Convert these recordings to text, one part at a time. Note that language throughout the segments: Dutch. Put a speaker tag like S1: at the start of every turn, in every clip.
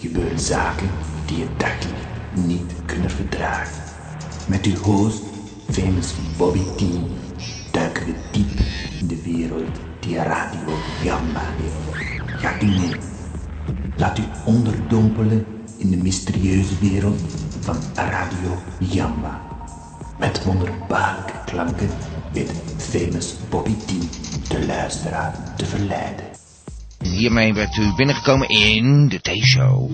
S1: gebeuren zaken die je dagelijks niet kunnen verdragen. Met uw host, famous Bobby T, duiken we diep in de wereld die Radio Gamba heeft. Gaat u mee? Laat u onderdompelen in de mysterieuze wereld van Radio Jamba. Met wonderbaarlijke klanken weet famous Bobby T de luisteraar te verleiden.
S2: Hiermee werd u binnengekomen in de T-show.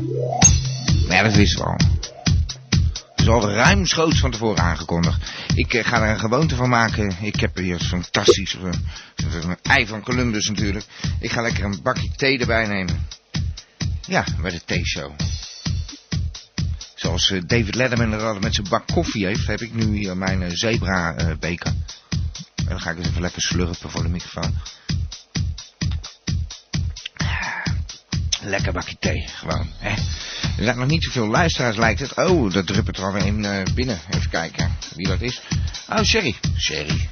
S2: Ja, dat wist ik al. Het is al ruimschoots van tevoren aangekondigd. Ik eh, ga er een gewoonte van maken. Ik heb hier zo'n fantastisch... eh, Een ei van Columbus natuurlijk. Ik ga lekker een bakje thee erbij nemen. Ja, bij de T-show. Zoals eh, David Letterman er altijd met zijn bak koffie heeft... heb ik nu hier mijn eh, zebra-beker. en dan ga ik eens even lekker slurpen voor de microfoon. Lekker bakje thee, gewoon. Hè? Er zijn nog niet zoveel luisteraars, lijkt het. Oh, dat druppelt er alweer een eh, binnen. Even kijken wie dat is. Oh, Sherry. Sherry.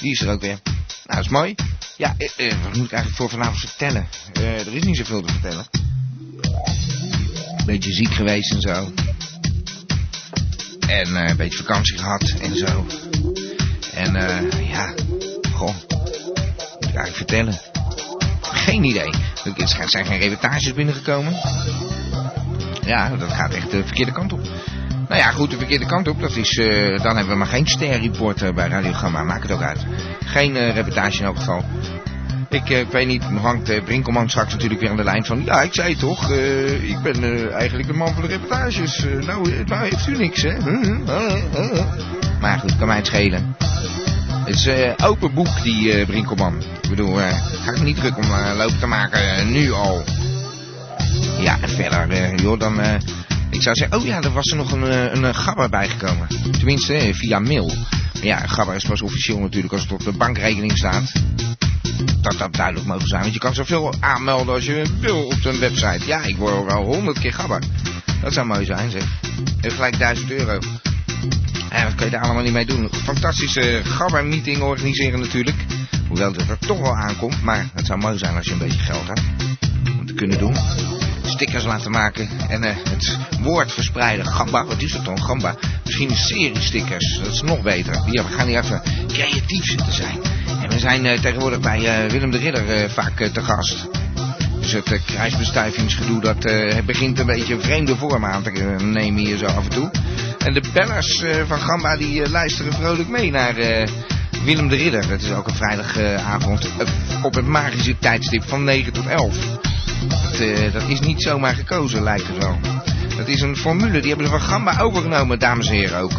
S2: Die is er ook weer. Nou, dat is mooi. Ja, eh, eh, wat moet ik eigenlijk voor vanavond vertellen? Eh, er is niet zoveel te vertellen. Beetje ziek geweest en zo. En eh, een beetje vakantie gehad en zo. En eh, ja, goh. Wat moet ik eigenlijk vertellen? Geen idee. Er zijn geen reportages binnengekomen. Ja, dat gaat echt de verkeerde kant op. Nou ja, goed, de verkeerde kant op. Dat is, eh, dan hebben we maar geen sterreporter bij Radio Gamma. Maakt het ook uit. Geen eh, reportage in elk geval. Ik, eh, ik weet niet, hangt eh, Brinkelman straks natuurlijk weer aan de lijn van... Ja, ik zei toch, eh, ik ben eh, eigenlijk de man van de reportages. Eh, nou, eh, nou heeft u niks, hè? Huh, huh, huh, huh. Maar goed, kan mij het schelen. Het is eh, open boek, die eh, Brinkelman. Ik bedoel, eh, ga ik me niet druk om eh, lopen te maken, eh, nu al. Ja, en verder, eh, joh, dan... eh, ik zou zeggen, oh ja, er was er nog een, eh, een eh, gabber bijgekomen. Tenminste, eh, via mail. Maar ja, een gabber is pas officieel natuurlijk als het op de bankrekening staat. Dat dat duidelijk mogen zijn, want je kan zoveel aanmelden als je wil op zijn website. Ja, ik word al wel honderd keer gabber. Dat zou mooi zijn, zeg. En gelijk 1000 euro. Ja, wat kun je daar allemaal niet mee doen? Fantastische gabber-meeting organiseren natuurlijk. Hoewel dat er toch wel aankomt, maar het zou mooi zijn als je een beetje geld had. Om te kunnen doen. Stickers laten maken en eh, het woord verspreiden. Gamba, wat is dat dan? Gamba. Misschien serie-stickers, dat is nog beter. Hier, we gaan hier even creatief zitten zijn. En we zijn eh, tegenwoordig bij eh, Willem de Ridder eh, vaak eh, te gast. Dus het eh, kruisbestuivingsgedoe dat eh, het begint een beetje vreemde vormen aan te eh, nemen hier zo af en toe. En de bellers eh, van Gamba die eh, luisteren vrolijk mee naar eh, Willem de Ridder. Dat is elke vrijdagavond eh, op het magische tijdstip van 9 tot 11. Dat, eh, dat is niet zomaar gekozen lijkt het wel. Dat is een formule, die hebben ze van Gamba overgenomen, dames en heren ook.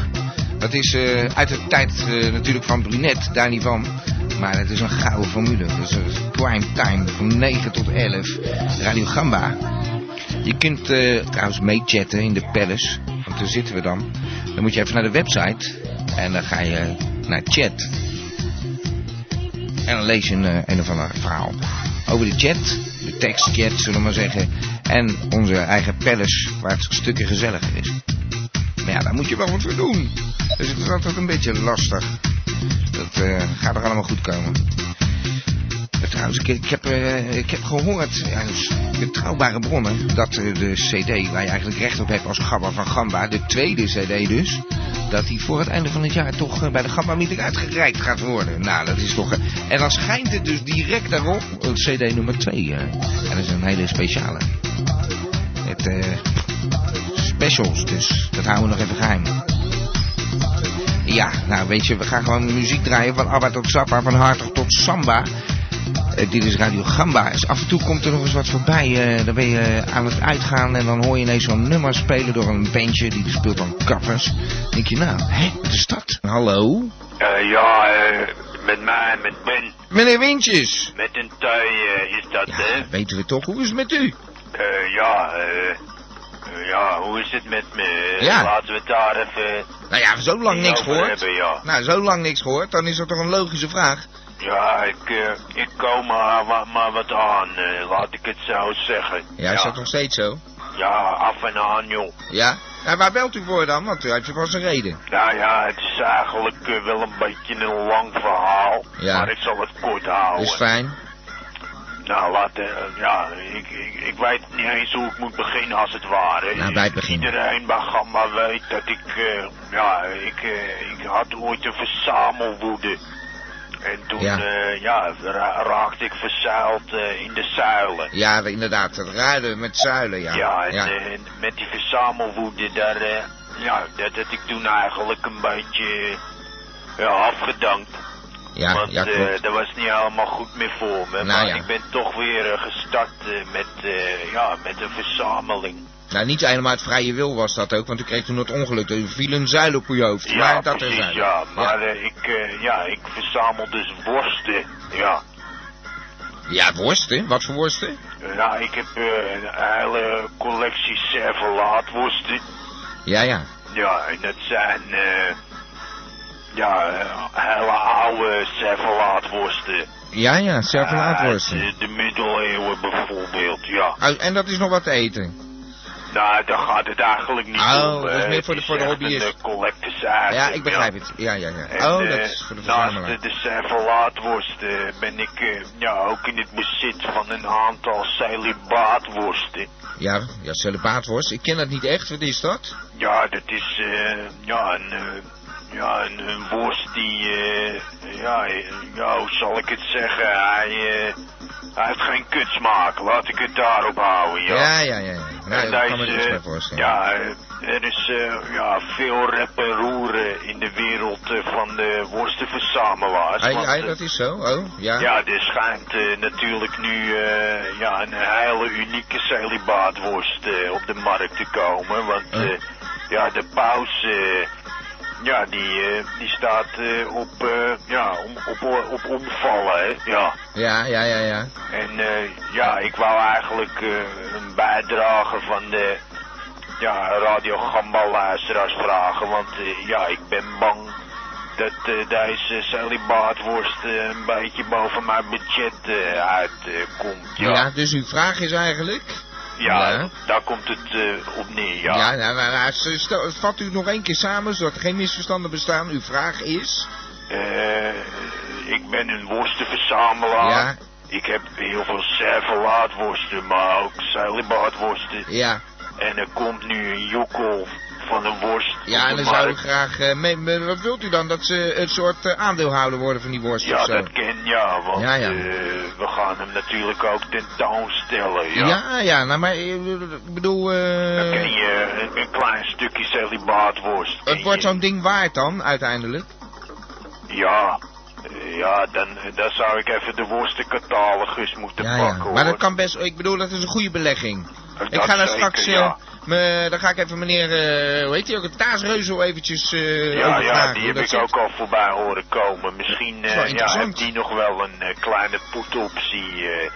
S2: Dat is eh, uit de tijd eh, natuurlijk van Brunet, daar niet van. Maar het is een gouden formule. Dat is een prime time van 9 tot 11. Radio Gamba. Je kunt eh, trouwens meechatten in de Palace. Want daar zitten we dan. Dan moet je even naar de website. En dan ga je naar chat. En dan lees je een, eh, een of ander verhaal. Over de chat. De tekstchat, zullen we maar zeggen. En onze eigen Palace, waar het stukken gezelliger is. Maar ja, daar moet je wel wat voor doen. Dus het is altijd een beetje lastig. Dat eh, gaat er allemaal goed komen. Maar Trouwens, ik, ik heb, eh, ik heb gehoord uit betrouwbare bronnen dat eh, de CD waar je eigenlijk recht op hebt als Gabba van Gamba, de tweede CD dus, dat die voor het einde van het jaar toch eh, bij de Gabba Meeting uitgereikt gaat worden. Nou, dat is toch. eh, en dan schijnt het dus direct daarop eh, CD nummer 2. eh. en dat is een hele speciale. Het eh, specials, dus dat houden we nog even geheim. Ja, nou weet je, we gaan gewoon muziek draaien van Abba tot Zappa, van Hartog tot Samba. Eh, dit is Radio Gamba. Dus af en toe komt er nog eens wat voorbij. eh, dan ben je aan het uitgaan en dan hoor je ineens zo'n nummer spelen door een bandje. Die speelt dan covers. Dan denk je, nou, hè, wat is dat? Hallo?
S3: Eh, ja, eh, met mij, met Ben,
S2: Meneer Windjes!
S3: met een tui eh, is dat, hè?
S2: Ja, weten we toch, hoe is het met u?
S3: Eh, ja, eh, ja, hoe is het met me? Eh,
S2: Ja.
S3: Laten we het daar even
S2: Nou ja, zo lang niks
S3: over
S2: gehoord.
S3: hebben, ja.
S2: Nou, zo lang niks gehoord, dan is dat toch een logische vraag.
S3: Ja, ik, eh, ik kom maar, wa- maar wat aan, eh, laat ik het zo zeggen.
S2: Ja, is dat nog steeds zo?
S3: ja, af en aan, joh.
S2: Ja? Nou, waar belt u voor dan? Want u heeft vast een reden.
S3: Nou ja, het is eigenlijk eh, wel een beetje een lang verhaal,
S2: Ja.
S3: maar ik zal het kort
S2: Dat
S3: houden.
S2: is fijn.
S3: Nou, laat, eh, ja, ik, ik, ik weet niet niet eens hoe ik moet beginnen als het ware.
S2: Nou, bij het begin.
S3: Iedereen bij Gamma weet dat ik, eh, ja, ik, eh, ik had ooit een verzamelwoede. En toen,
S2: Ja.
S3: ja, ja ra- raakte ik verzeild eh, in de zuilen.
S2: Ja, inderdaad. Ruilen met zuilen, ja.
S3: Ja, en eh, en met die verzamelwoede daar, eh, ja, dat had ik toen eigenlijk een beetje eh, ja, afgedankt.
S2: ja,
S3: Want
S2: ja,
S3: eh,
S2: klopt.
S3: dat was niet helemaal goed meer voor me.
S2: Nou
S3: maar
S2: ja.
S3: ik ben toch weer eh, gestart eh, met, eh, ja, met een verzameling.
S2: Nou, niet helemaal uit vrije wil was dat ook, want u kreeg toen het ongeluk. Er viel een zuil op uw hoofd.
S3: Ja,
S2: maar dat
S3: precies,
S2: er
S3: ja. Maar eh, ik, eh, ja, ik verzamel dus worsten. Ja.
S2: Ja, worsten? Wat voor worsten?
S3: Nou, ik heb eh, een hele collectie servelaatworsten.
S2: Ja, ja.
S3: Ja, en dat zijn eh, ja, eh, hele oude servelaatworsten.
S2: Ja, ja, servelaatworsten.
S3: Uit, eh, de middeleeuwen bijvoorbeeld, ja.
S2: Oh, en dat is nog wat te eten.
S3: Nou, daar gaat het eigenlijk niet
S2: Oh,
S3: om.
S2: dat is
S3: eh,
S2: meer voor de-
S3: het
S2: voor de
S3: echt
S2: hobbyist.
S3: Een eh, collectors item,
S2: Ja, ik begrijp het. Ja, ja, ja.
S3: En,
S2: Oh, dat
S3: eh,
S2: is voor de
S3: Naast
S2: verzamelaar.
S3: de servelaatworsten ben ik eh, ja, ook in het bezit van een aantal celibaatworsten.
S2: Ja, ja, celibaatworst. Ik ken dat niet echt. Wat is dat?
S3: Ja, dat is eh, ja, een, eh, ja, een, een worst die, eh, ja, eh, ja, hoe zal ik het zeggen, hij, eh, hij heeft geen kutsmaak, laat ik het daarop houden, ja.
S2: Ja, ja, ja. ja. Nou,
S3: En
S2: dat
S3: daar
S2: kan me
S3: is,
S2: niks
S3: eh,
S2: bij voorstellen.
S3: Ja, eh, er is eh, ja, veel rep en roeren in de wereld eh, van de worstenverzamelaars.
S2: Hey,
S3: want,
S2: hey,
S3: eh,
S2: dat is zo. Oh, ja.
S3: ja, er schijnt eh, natuurlijk nu eh, ja, een hele unieke celibaatworst eh, op de markt te komen. Want
S2: Huh?
S3: eh, ja, de paus eh, ja, die, eh, die staat eh, op, eh, ja, om, op, op omvallen. hè, Ja.
S2: Ja, ja, ja, ja.
S3: En eh, ja, ik wou eigenlijk eh, een bijdrage van de ja, Radio Gamba luisteraars vragen. Want eh, ja, ik ben bang dat eh, deze celibaatworst eh, een beetje boven mijn budget eh, uitkomt.
S2: Ja,
S3: ja. Ja,
S2: dus uw vraag is eigenlijk... Ja.
S3: daar komt het eh, op neer, ja.
S2: Ja, nou, nou, nou, s- stel- vat u nog één keer samen, zodat er geen misverstanden bestaan. Uw vraag is...
S3: Eh, ik ben een worstenverzamelaar.
S2: Ja.
S3: Ik heb heel veel servelaatworsten, maar ook celibaatworsten.
S2: Ja,
S3: En er komt nu een joekel van een worst.
S2: ja en
S3: op de
S2: dan zou ik
S3: markt.
S2: graag... eh, mee, mee- wat wilt u dan? Dat ze een soort eh, aandeelhouder worden van die worst
S3: Ja,
S2: of zo?
S3: dat ken ja, want
S2: Ja, ja.
S3: eh, we gaan hem natuurlijk ook tentoonstellen. Ja.
S2: ja, ja, nou, maar eh, ik bedoel... eh,
S3: Dan ken je een, een klein stukje celibaatworst. ken
S2: het wordt
S3: je.
S2: zo'n ding waard dan, uiteindelijk.
S3: Ja. Eh, Ja, dan, dan zou ik even de worstencatalogus moeten
S2: ja, ja.
S3: pakken
S2: Maar dat
S3: hoor.
S2: kan best... Ik bedoel, dat is een goede belegging.
S3: Dat
S2: ik ga daar
S3: zeker,
S2: straks... eh,
S3: ja.
S2: me, dan ga ik even meneer... eh, hoe heet hij ook? De Taasreuzel eventjes eh
S3: Ja, ja,
S2: overvragen
S3: die
S2: hoe
S3: heb
S2: dat
S3: ik
S2: zit.
S3: ook al voorbij horen komen. Misschien
S2: is
S3: eh,
S2: wel
S3: ja,
S2: interessant.
S3: heeft die nog wel een eh, kleine poetoptie. eh.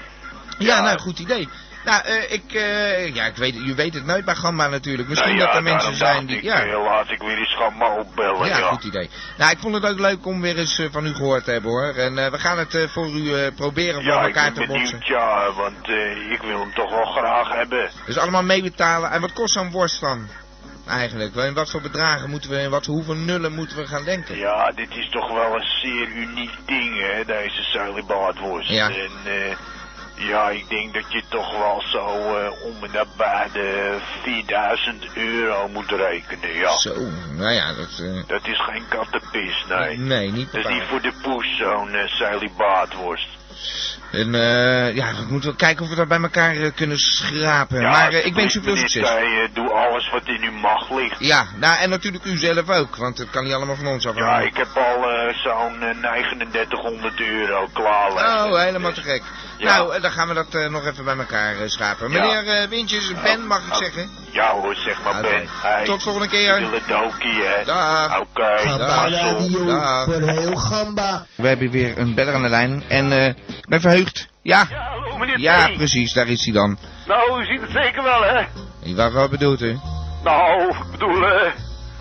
S2: Ja,
S3: Ja.
S2: nou, goed idee. Nou, eh, ik, eh, ja, ik weet, je weet het nooit bij Gamma natuurlijk. Misschien
S3: Nou ja,
S2: dat er
S3: daarom
S2: mensen zijn
S3: dacht
S2: die...
S3: Ik,
S2: ja.
S3: eh, laat ik weer eens gaan maar opbellen.
S2: Ja,
S3: Ja,
S2: goed idee. Nou, ik vond het ook leuk om weer eens eh, van u gehoord te hebben hoor. En eh, we gaan het eh, voor u eh, proberen voor
S3: Ja, ik
S2: elkaar
S3: ben
S2: te botsen.
S3: benieuwd, ja, want eh, ik wil hem toch wel graag hebben.
S2: Dus allemaal meebetalen. En wat kost zo'n worst dan? Eigenlijk. In wat voor bedragen moeten we, in wat, hoeveel nullen moeten we gaan denken?
S3: Ja, dit is toch wel een zeer uniek ding, hè, deze celibaatworst.
S2: Ja.
S3: En eh, ja, ik denk dat je toch wel zo eh, om en nabij de 4000 euro moet rekenen, ja.
S2: Zo, nou ja, dat... eh,
S3: Dat is geen kattenpis, nee. Dus
S2: nee, niet
S3: Dat is niet
S2: bepaald.
S3: voor de poes, zo'n uh, celibaatworst.
S2: En eh, ja, we moeten wel kijken of we dat bij elkaar eh, kunnen schrapen. maar eh, ik wens u veel
S3: alsjeblieft,
S2: succes.
S3: meneer Tij, eh, doe alles wat in uw macht ligt.
S2: Ja, nou en natuurlijk u zelf ook, want het kan niet allemaal van ons
S3: Ja,
S2: afhangen.
S3: ik heb al eh, zo'n eh, 3900 euro klaar. liggen.
S2: Oh,
S4: Dus-
S2: helemaal te gek.
S3: Ja.
S2: Nou, eh, dan gaan we dat eh, nog even bij elkaar eh, schrapen.
S3: Ja.
S2: Meneer eh, Wintjes, Ben mag ik
S3: Oh,
S2: zeggen?
S3: Ja hoor, zeg maar
S2: Oké.
S3: Ben. Hey,
S2: Tot volgende keer.
S3: Dokie, hè.
S2: Dag.
S3: Oké,
S2: Dag.
S3: mazzel.
S5: Radio
S2: Dag.
S5: voor heel Gamba.
S2: We hebben weer een beller aan de lijn en eh, ik ben verheugd. Ja,
S6: Ja, hallo meneer
S2: ja
S6: T.
S2: precies, daar is hij dan.
S6: Nou, u ziet het zeker wel, hè?
S3: Oh,
S2: Wat, wat bedoelt u?
S6: Nou, ik bedoel, eh,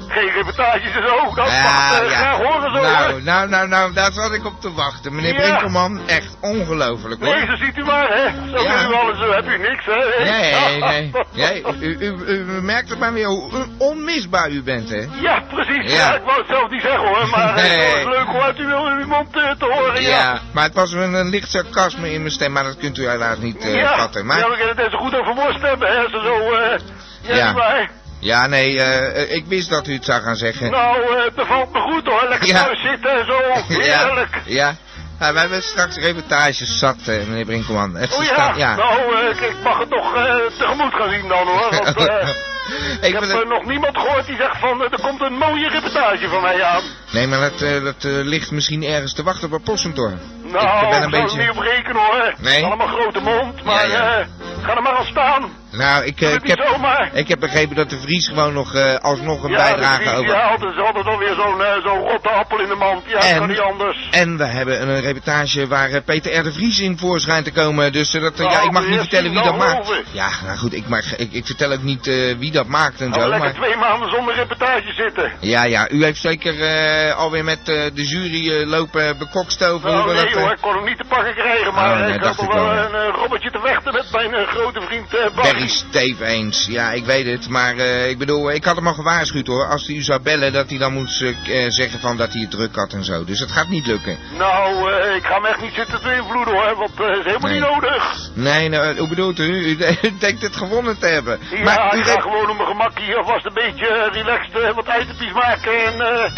S4: Geen reportages en zo. Dat
S2: Ah, Ja,
S4: eh,
S2: ja.
S4: graag horen zo.
S2: Nou, nou, nou, nou, daar zat ik op te wachten. Meneer
S4: Ja.
S2: Brinkelman, echt ongelooflijk
S4: Nee,
S2: hoor.
S4: zo ziet u maar, hè. Zo
S2: Ja.
S4: kunnen we alles, zo heb u niks, hè.
S2: Nee, nee, nee. nee u, u, u merkt het maar weer hoe onmisbaar u bent, hè?
S4: Ja, precies.
S2: Ja.
S4: Ja. ik wou het zelf niet zeggen hoor, maar eh,
S2: Nee.
S4: het was leuk om uit uw, uw mond eh, te horen. Ja.
S2: Ja, maar het was een, een licht sarcasme in mijn stem, maar dat kunt u helaas niet eh, vatten.
S4: ja,
S2: Maar
S4: we kunnen het net zo goed over worst hebben, hè. Zo, zo eh, ja.
S2: Ja.
S4: niet waar?
S2: ja, nee, eh, ik wist dat u het zou gaan zeggen.
S4: Nou, eh, het bevalt me goed hoor. Lekker
S2: Ja.
S4: thuis zitten en zo.
S2: ja,
S4: Heerlijk.
S2: ja. Nou, wij hebben straks reportages zat, eh, meneer Brinkelman. Echt
S4: O ja,
S2: verstaan- ja.
S4: nou, eh, ik mag het nog eh, tegemoet gaan zien dan hoor. Want, eh,
S2: Ik
S4: ik heb
S2: vind
S4: eh,
S2: het-
S4: nog niemand gehoord die zegt van eh, er komt een mooie reportage van mij aan.
S2: Nee, maar dat, eh, dat eh, ligt misschien ergens te wachten op Possentor.
S4: Nou,
S2: ik ben een
S4: daar zou ik
S2: beetje...
S4: niet op rekenen hoor.
S2: Nee?
S4: Allemaal grote mond, maar
S2: Ja, ja.
S4: eh, ga er maar aan staan.
S2: Nou, ik, eh,
S4: Doe het
S2: ik,
S4: niet
S2: heb,
S4: zomaar.
S2: ik heb begrepen dat de Vries gewoon nog eh, alsnog een
S4: ja,
S2: bijdrage
S4: de Vries,
S2: over...
S4: Ja, altijd, altijd alweer zo'n eh, zo'n rotte appel in de mand. Ja,
S2: En?
S4: dat kan niet anders.
S2: En we hebben een, een reportage waar eh, Peter R. de Vries in voor schijnt te komen. Dus eh, dat, eh,
S4: Nou,
S2: ja, ik mag niet
S4: eerst
S2: vertellen wie
S4: zien,
S2: dat
S4: dan
S2: maakt.
S4: geloven.
S2: Ja, nou goed, ik, mag, ik, ik vertel ook niet eh, wie dat maakt en
S4: Nou,
S2: zo.
S4: lekker
S2: Maar,
S4: twee maanden zonder reportage zitten.
S2: ja, ja, u heeft zeker eh, alweer met eh, de jury eh, lopen bekokstoven.
S4: Nou,
S2: hoe we
S4: nee
S2: dat, eh,
S4: hoor, ik kon hem niet te pakken krijgen, maar
S2: Oh, nee,
S4: ik had
S2: dacht
S4: nog
S2: ik wel,
S4: wel
S2: ja.
S4: een eh, robbertje te vechten met mijn eh, grote vriend eh Barry.
S2: Barry Steve eens. Ja, ik weet het. Maar eh, ik bedoel, ik had hem al gewaarschuwd hoor. Als hij u zou bellen, dat hij dan moest eh, k- eh, zeggen van dat hij het druk had en zo. Dus dat gaat niet lukken.
S4: Nou, eh, ik ga hem echt niet zitten te invloeden hoor, want eh is helemaal
S2: Nee.
S4: niet nodig.
S2: Nee, nou, hoe bedoelt u? U, denkt het gewonnen te hebben.
S4: Ja,
S2: maar u
S4: ik ga
S2: weet-
S4: gewoon op mijn gemak hier alvast een beetje eh, relaxed eh, wat items maken en eh,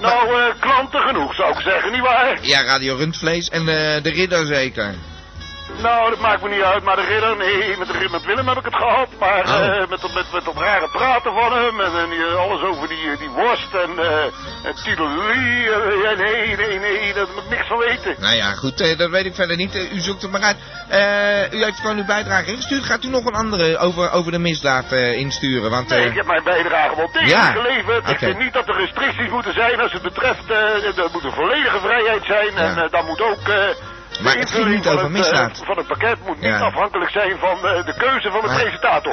S4: nou, eh, klanten genoeg zou ik zeggen, nietwaar?
S2: Ja, Radio Rundvlees en eh, de Ridder zeker.
S4: Nou, dat maakt me niet uit, maar de ridder, nee, met, de ridder- met Willem heb ik het gehad, maar
S2: Oh.
S4: eh, met, dat- met, met dat rare praten van hem en, en die, eh, alles over die, eh, die worst en, eh en Tidelie, eh, ja, nee, nee, nee, daar moet ik niks van weten.
S2: Nou ja, goed, eh, dat weet ik verder niet. Eh, u zoekt het maar uit. Eh, u heeft gewoon uw bijdrage ingestuurd. Gaat u nog een andere over, over de misdaad eh, insturen? Want, eh,
S4: Nee, ik heb mijn bijdrage wel tegen
S2: Ja.
S4: geleverd. Ik
S2: Oké.
S4: vind niet dat er restricties moeten zijn als het betreft. eh er moet een volledige vrijheid zijn. En
S2: Ja.
S4: eh dan moet ook. eh,
S2: Maar
S4: de
S2: het ging niet
S4: invulling van
S2: over
S4: het,
S2: misdaad.
S4: eh, van het pakket moet niet
S2: Ja.
S4: afhankelijk zijn van eh, de keuze van de
S2: maar
S4: presentator.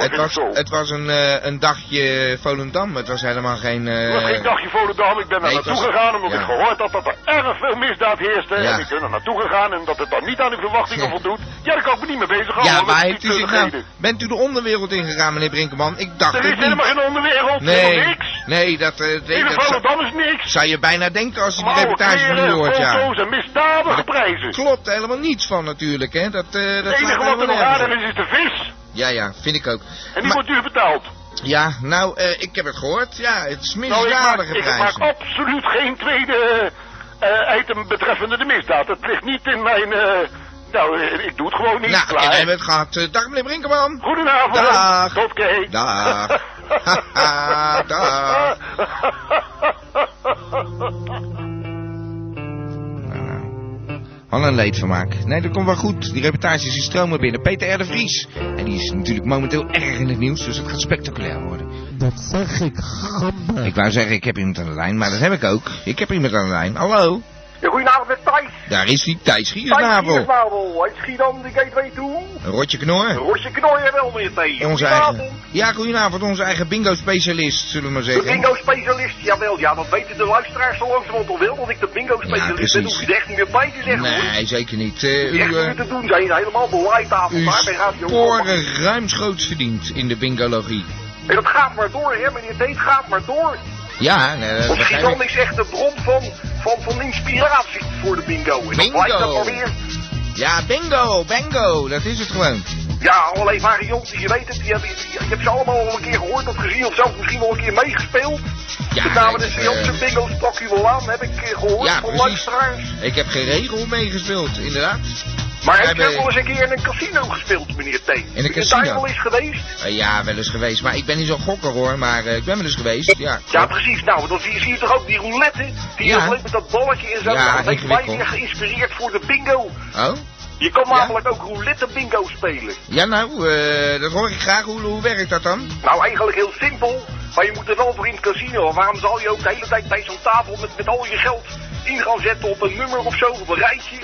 S2: het
S4: vind ik
S2: was,
S4: zo.
S2: het was een, eh, een dagje Volendam. Het was helemaal geen... eh,
S4: Het was geen dagje Volendam. Ik ben daar
S2: nee, het
S4: naartoe
S2: was-
S4: gegaan omdat
S2: ja.
S4: ik gehoord had dat er erg veel misdaad heerste.
S2: Ja.
S4: En ik ben er naartoe gegaan en dat het dan niet aan uw verwachtingen
S2: Ja.
S4: voldoet. Ja, daar kan ik me niet mee bezighouden.
S2: ja,
S4: hoor, met
S2: maar
S4: die
S2: heeft u zich nou,
S4: treurigheden.
S2: bent u de onderwereld ingegaan, meneer Brinkeman? Ik dacht
S4: Er
S2: het
S4: is helemaal
S2: niet.
S4: geen onderwereld.
S2: Nee,
S4: helemaal niks.
S2: nee, dat, eh, nee,
S4: In
S2: dat zou,
S4: Volendam is niks.
S2: zou je bijna denken als je die
S4: Maar oude
S2: reportage van u
S4: kleren,
S2: hoort, ja.
S4: foto's en misdadige prijzen.
S2: Klopt helemaal niets van natuurlijk, hè. Dat, eh dat
S4: Het
S2: slaat
S4: enige wat er
S2: helemaal
S4: nog
S2: nergens op.
S4: aardig is, is de vis.
S2: Ja, ja, vind ik ook.
S4: En die
S2: Maar-
S4: wordt duur betaald.
S2: Ja, nou, eh, ik heb het gehoord. Ja, het is
S4: Nou, ik maak,
S2: misdadige
S4: ik
S2: prijzen.
S4: maak absoluut geen tweede eh, item betreffende de misdaad. Het ligt niet in mijn... eh, nou, eh, ik doe het gewoon niet.
S2: nou,
S4: klaar.
S2: en hebben het gehad. Eh, dag meneer Brinkeman.
S4: Goedenavond.
S2: Dag.
S4: Tot keek.
S2: Dag. Haha, dag. Wat een leedvermaak. Nee, dat komt wel goed. Die reportages die stromen binnen. Peter R. de Vries. En die is natuurlijk momenteel erg in het nieuws, dus het gaat spectaculair worden.
S7: Dat zeg ik, gamme.
S2: Ik wou zeggen, ik heb iemand aan de lijn, maar dat heb ik ook. Ik heb iemand aan de lijn. Hallo?
S6: Ja, goedenavond met Thijs.
S2: Daar is die Thijs
S6: Thijs
S2: Giersnavel.
S6: Giersnavel. Uit Schiedam, de gateway toe.
S2: Rotje Knor.
S6: Rosje knooien wel weer mee.
S2: En onze eigen... Ja, goedenavond. Onze eigen bingo-specialist, zullen we maar
S6: De
S2: zeggen.
S6: bingo-specialist, jawel. Ja, dat weten de luisteraars zo langzamerhand al wel. Dat ik de bingo-specialist
S2: Ja,
S6: ben,
S2: precies.
S6: hoef je er echt niet meer bij te zeggen. hoor.
S2: Nee, zeker niet. Eh,
S6: Echt
S2: u,
S6: niet
S2: eh,
S6: meer te doen. Zijn helemaal de laaitafel
S2: Uw
S6: daar bij Radio Koppen.
S2: sporen ruimschoots verdiend in de bingologie.
S6: En dat gaat maar door, hè, meneer Deet. Gaat maar door.
S2: Ja, nee, dat
S6: Want
S2: begrijp
S6: Schiedam
S2: ik.
S6: is echt de bron van, van, van inspiratie voor de bingo. En
S2: Bingo.
S6: dat blijkt dat alweer.
S2: Ja, bingo, bingo, dat is het gewoon.
S6: Ja, allerlei varianten. Je weet het. Je, hebt- je, je hebt ze allemaal al een keer gehoord of gezien. Of zelfs misschien wel een keer meegespeeld.
S2: Ja,
S6: Met name de
S2: nee,
S6: Seance
S2: eh,
S6: Bingo sprak u wel aan, heb ik eh, gehoord
S2: ja,
S6: van
S2: precies.
S6: luisteraars.
S2: Ik heb geen regel meegespeeld, inderdaad.
S6: Maar
S2: Wij
S6: heb je ook
S2: hebben-
S6: wel eens een keer in een casino gespeeld, meneer T? In
S2: casino?
S6: daar wel eens geweest?
S2: Eh, ja, wel eens geweest, maar ik ben niet zo'n gokker hoor, maar eh, ik ben wel eens geweest, ja.
S6: Ja, precies. Nou, dan zie je, zie je toch ook die roulette, die
S2: Ja.
S6: is alleen met dat balletje en zo.
S2: Ja,
S6: dat heeft mij
S2: ingewikkeld.
S6: weer geïnspireerd voor de bingo.
S2: Oh?
S6: Je kan
S2: Ja.
S6: namelijk ook roulette bingo spelen.
S2: Ja, nou, eh, dat hoor ik graag. Hoe, hoe werkt dat dan?
S6: Nou, eigenlijk heel simpel, maar je moet er wel voor in het casino. Waarom zal je ook de hele tijd bij zo'n tafel met, met al je geld in gaan zetten op een nummer of zo, op een rijtje?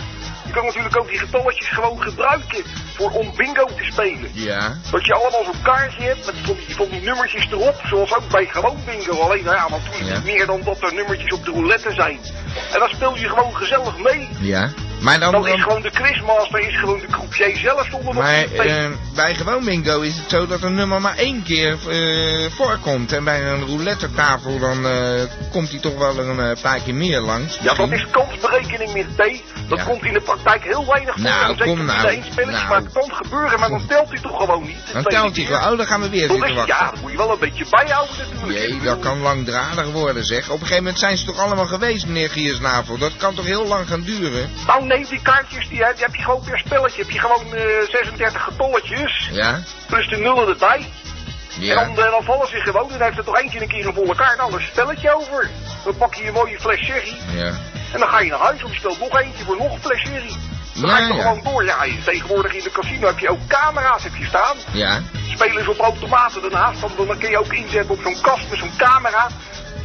S6: Je kan natuurlijk ook die getalletjes gewoon gebruiken voor om bingo te spelen.
S2: Ja.
S6: Dat je allemaal zo'n kaartje hebt met van die, van die nummertjes erop, zoals ook bij gewoon bingo. Alleen, nou ja, want toen is
S2: Ja.
S6: het meer dan dat er nummertjes op de roulette zijn. En dan speel je gewoon gezellig mee.
S2: Ja. Maar dan...
S6: Dan is
S2: dan
S6: gewoon de quizmaster, is gewoon de croupier zelf zonder nog
S2: maar
S6: te spelen.
S2: eh, bij gewoon bingo is het zo dat een nummer maar één keer eh, voorkomt. En bij een roulette tafel dan eh, komt hij toch wel een eh, paar keer meer langs.
S6: Ja, dat
S2: misschien.
S6: is kansberekening meer T. Dat
S2: Hm. Ja.
S6: komt in de praktijk heel weinig voor.
S2: Nou,
S6: zeker
S2: kom
S6: niet
S2: nou.
S6: bij één spelletje,
S2: Nou.
S6: maar het kan gebeuren, maar dan telt hij toch gewoon niet. De
S2: Dan
S6: tweede
S2: telt hij
S6: keer.
S2: gewoon. Oh, dan gaan we weer
S6: Dan is,
S2: zitten
S6: ja,
S2: wachten.
S6: dat moet je wel een beetje bijhouden natuurlijk.
S2: Jee, dat kan langdradig worden zeg. Op een gegeven moment zijn ze toch allemaal geweest, meneer Giersnavel. Dat kan toch heel lang gaan duren?
S6: Nou nee, die kaartjes die, heb- die heb je gewoon per spelletje. Heb je gewoon eh, 36 getolletjes,
S2: Ja?
S6: plus de nullen erbij. En
S2: Ja.
S6: dan, eh, dan vallen ze gewoon, dan heeft er toch eentje een keer een volle kaart, anders spelletje over. Dan pak je een mooie fles sherry
S2: Ja.
S6: en dan ga je naar huis of stel nog eentje voor nog een fles sherry. Dan ga je
S2: Ja,
S6: toch
S2: ja.
S6: gewoon door. Ja, je- tegenwoordig in de casino heb je ook camera's heb je staan.
S2: Ja.
S6: spelers op automaten daarnaast. want Dan kun je ook inzetten op zo'n kast met zo'n camera.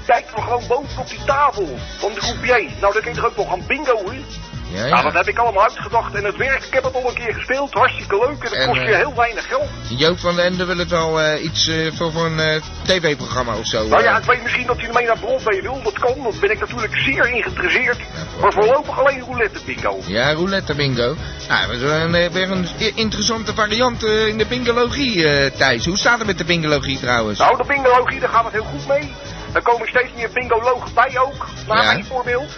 S6: Kijk dan gewoon bovenop die tafel van de croupier. Nou, dan kun je toch ook nog gaan bingo, hè?
S2: Ja,
S6: Nou, dat
S2: ja.
S6: heb ik allemaal uitgedacht en het werkt. Ik heb het al een keer gespeeld. Hartstikke leuk en dat
S2: En,
S6: kost je
S2: eh,
S6: heel weinig geld.
S2: Joop van den Ende wil het wel eh, iets eh, voor, voor een eh, tv-programma of zo.
S6: Nou ja,
S2: eh.
S6: ik weet misschien dat hij ermee naar Broadway wil. Dat kan, dat ben ik natuurlijk zeer in geïnteresseerd.
S2: Broadway.
S6: Maar voorlopig alleen roulette bingo.
S2: Ja, roulette bingo. Nou, dat is wel een, eh, weer een i- interessante variant eh, in de bingologie, eh, Thijs. Hoe staat het met de bingologie trouwens?
S6: Nou, de bingologie, daar gaat het heel goed mee. Er komen steeds meer bingologen bij ook, naar
S2: Ja.
S6: mijn voorbeeld.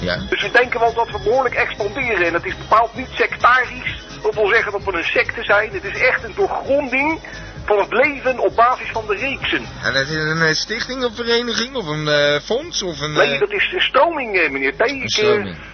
S2: Ja.
S6: Dus we denken wel dat we behoorlijk expanderen. En het is bepaald niet sectarisch. Dat wil zeggen dat we een secte zijn. Het is echt een doorgronding van het leven op basis van de reeksen.
S2: En dat is een eh, stichting of vereniging of een eh, fonds of een...
S6: Nee,
S2: eh,
S6: dat is een stroming, eh, meneer T.
S2: een
S6: Ik eh,
S2: stroming. Een
S6: kan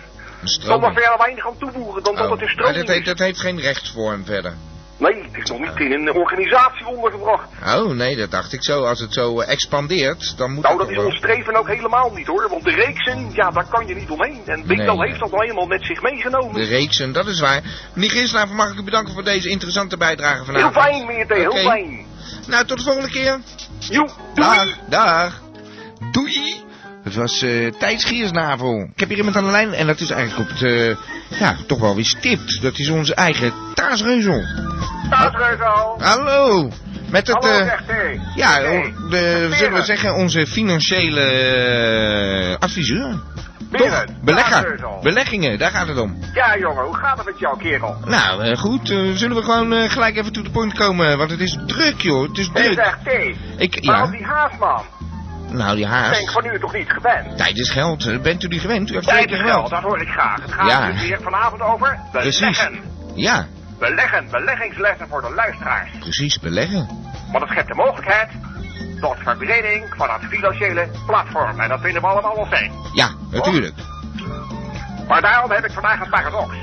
S6: daar
S2: stroming.
S6: verder weinig aan toevoegen dan dat
S2: Oh,
S6: het een
S2: Maar
S6: stroming
S2: dat heeft,
S6: is.
S2: dat heeft geen rechtsvorm verder.
S6: Nee, het is nog niet in een organisatie ondergebracht.
S2: Oh, nee, dat dacht ik zo. Als het zo eh, expandeert, dan moet
S6: Nou,
S2: het
S6: dat is
S2: toch
S6: ons streven ook helemaal niet hoor. Want de reeksen, ja, daar kan je niet omheen. En Bingo
S2: Nee, nee.
S6: heeft dat nou eenmaal met zich meegenomen.
S2: De reeksen, dat is waar. Meneer Giersnavel, mag ik u bedanken voor deze interessante bijdrage
S6: Heel
S2: vanavond.
S6: fijn, meneer T, heel
S2: Nou, Oké.
S6: fijn.
S2: Nou, tot de volgende keer.
S6: Joe, doei!
S2: Dag, dag. Doei. Het was eh Thijs Giersnavel. Ik heb hier iemand aan de lijn en dat is eigenlijk op het, eh, ja, toch wel weer stipt. Dat is onze eigen Taasreuzel.
S6: Staat er al.
S2: Hallo. Met Oh. het,
S6: Hallo,
S2: eh,
S6: zegt hij.
S2: ja,
S6: Hey,
S2: o- de, zullen we
S6: Berend.
S2: zeggen, onze financiële eh, adviseur.
S6: Berend,
S2: Toch? Belegger.
S6: Taasreuzel.
S2: Beleggingen, daar gaat het om.
S6: Ja, jongen, hoe gaat het met jou, kerel?
S2: Nou, eh, goed. eh, zullen we gewoon eh, gelijk even to the point komen? Want het is druk, joh. Het is
S6: Hé,
S2: druk.
S6: zeg, T.
S2: Ik,
S6: Waarom
S2: ja,
S6: die haasman?
S2: nou, die
S6: Ik Denk
S2: haast.
S6: van u toch niet gewend?
S2: Tijd is geld. Eh, Bent u die gewend? U heeft
S6: Tijd
S2: zeker
S6: is geld,
S2: geld.
S6: dat hoor ik graag. Het gaat
S2: Ja.
S6: dus weer vanavond over beleggen.
S2: Ja,
S6: Beleggen, beleggingslessen voor de luisteraars.
S2: precies, beleggen.
S6: Want het schept de mogelijkheid tot verbreding van het financiële platform. En dat vinden we allemaal wel fijn.
S2: Ja, natuurlijk.
S6: Maar daarom heb ik vandaag een paradox.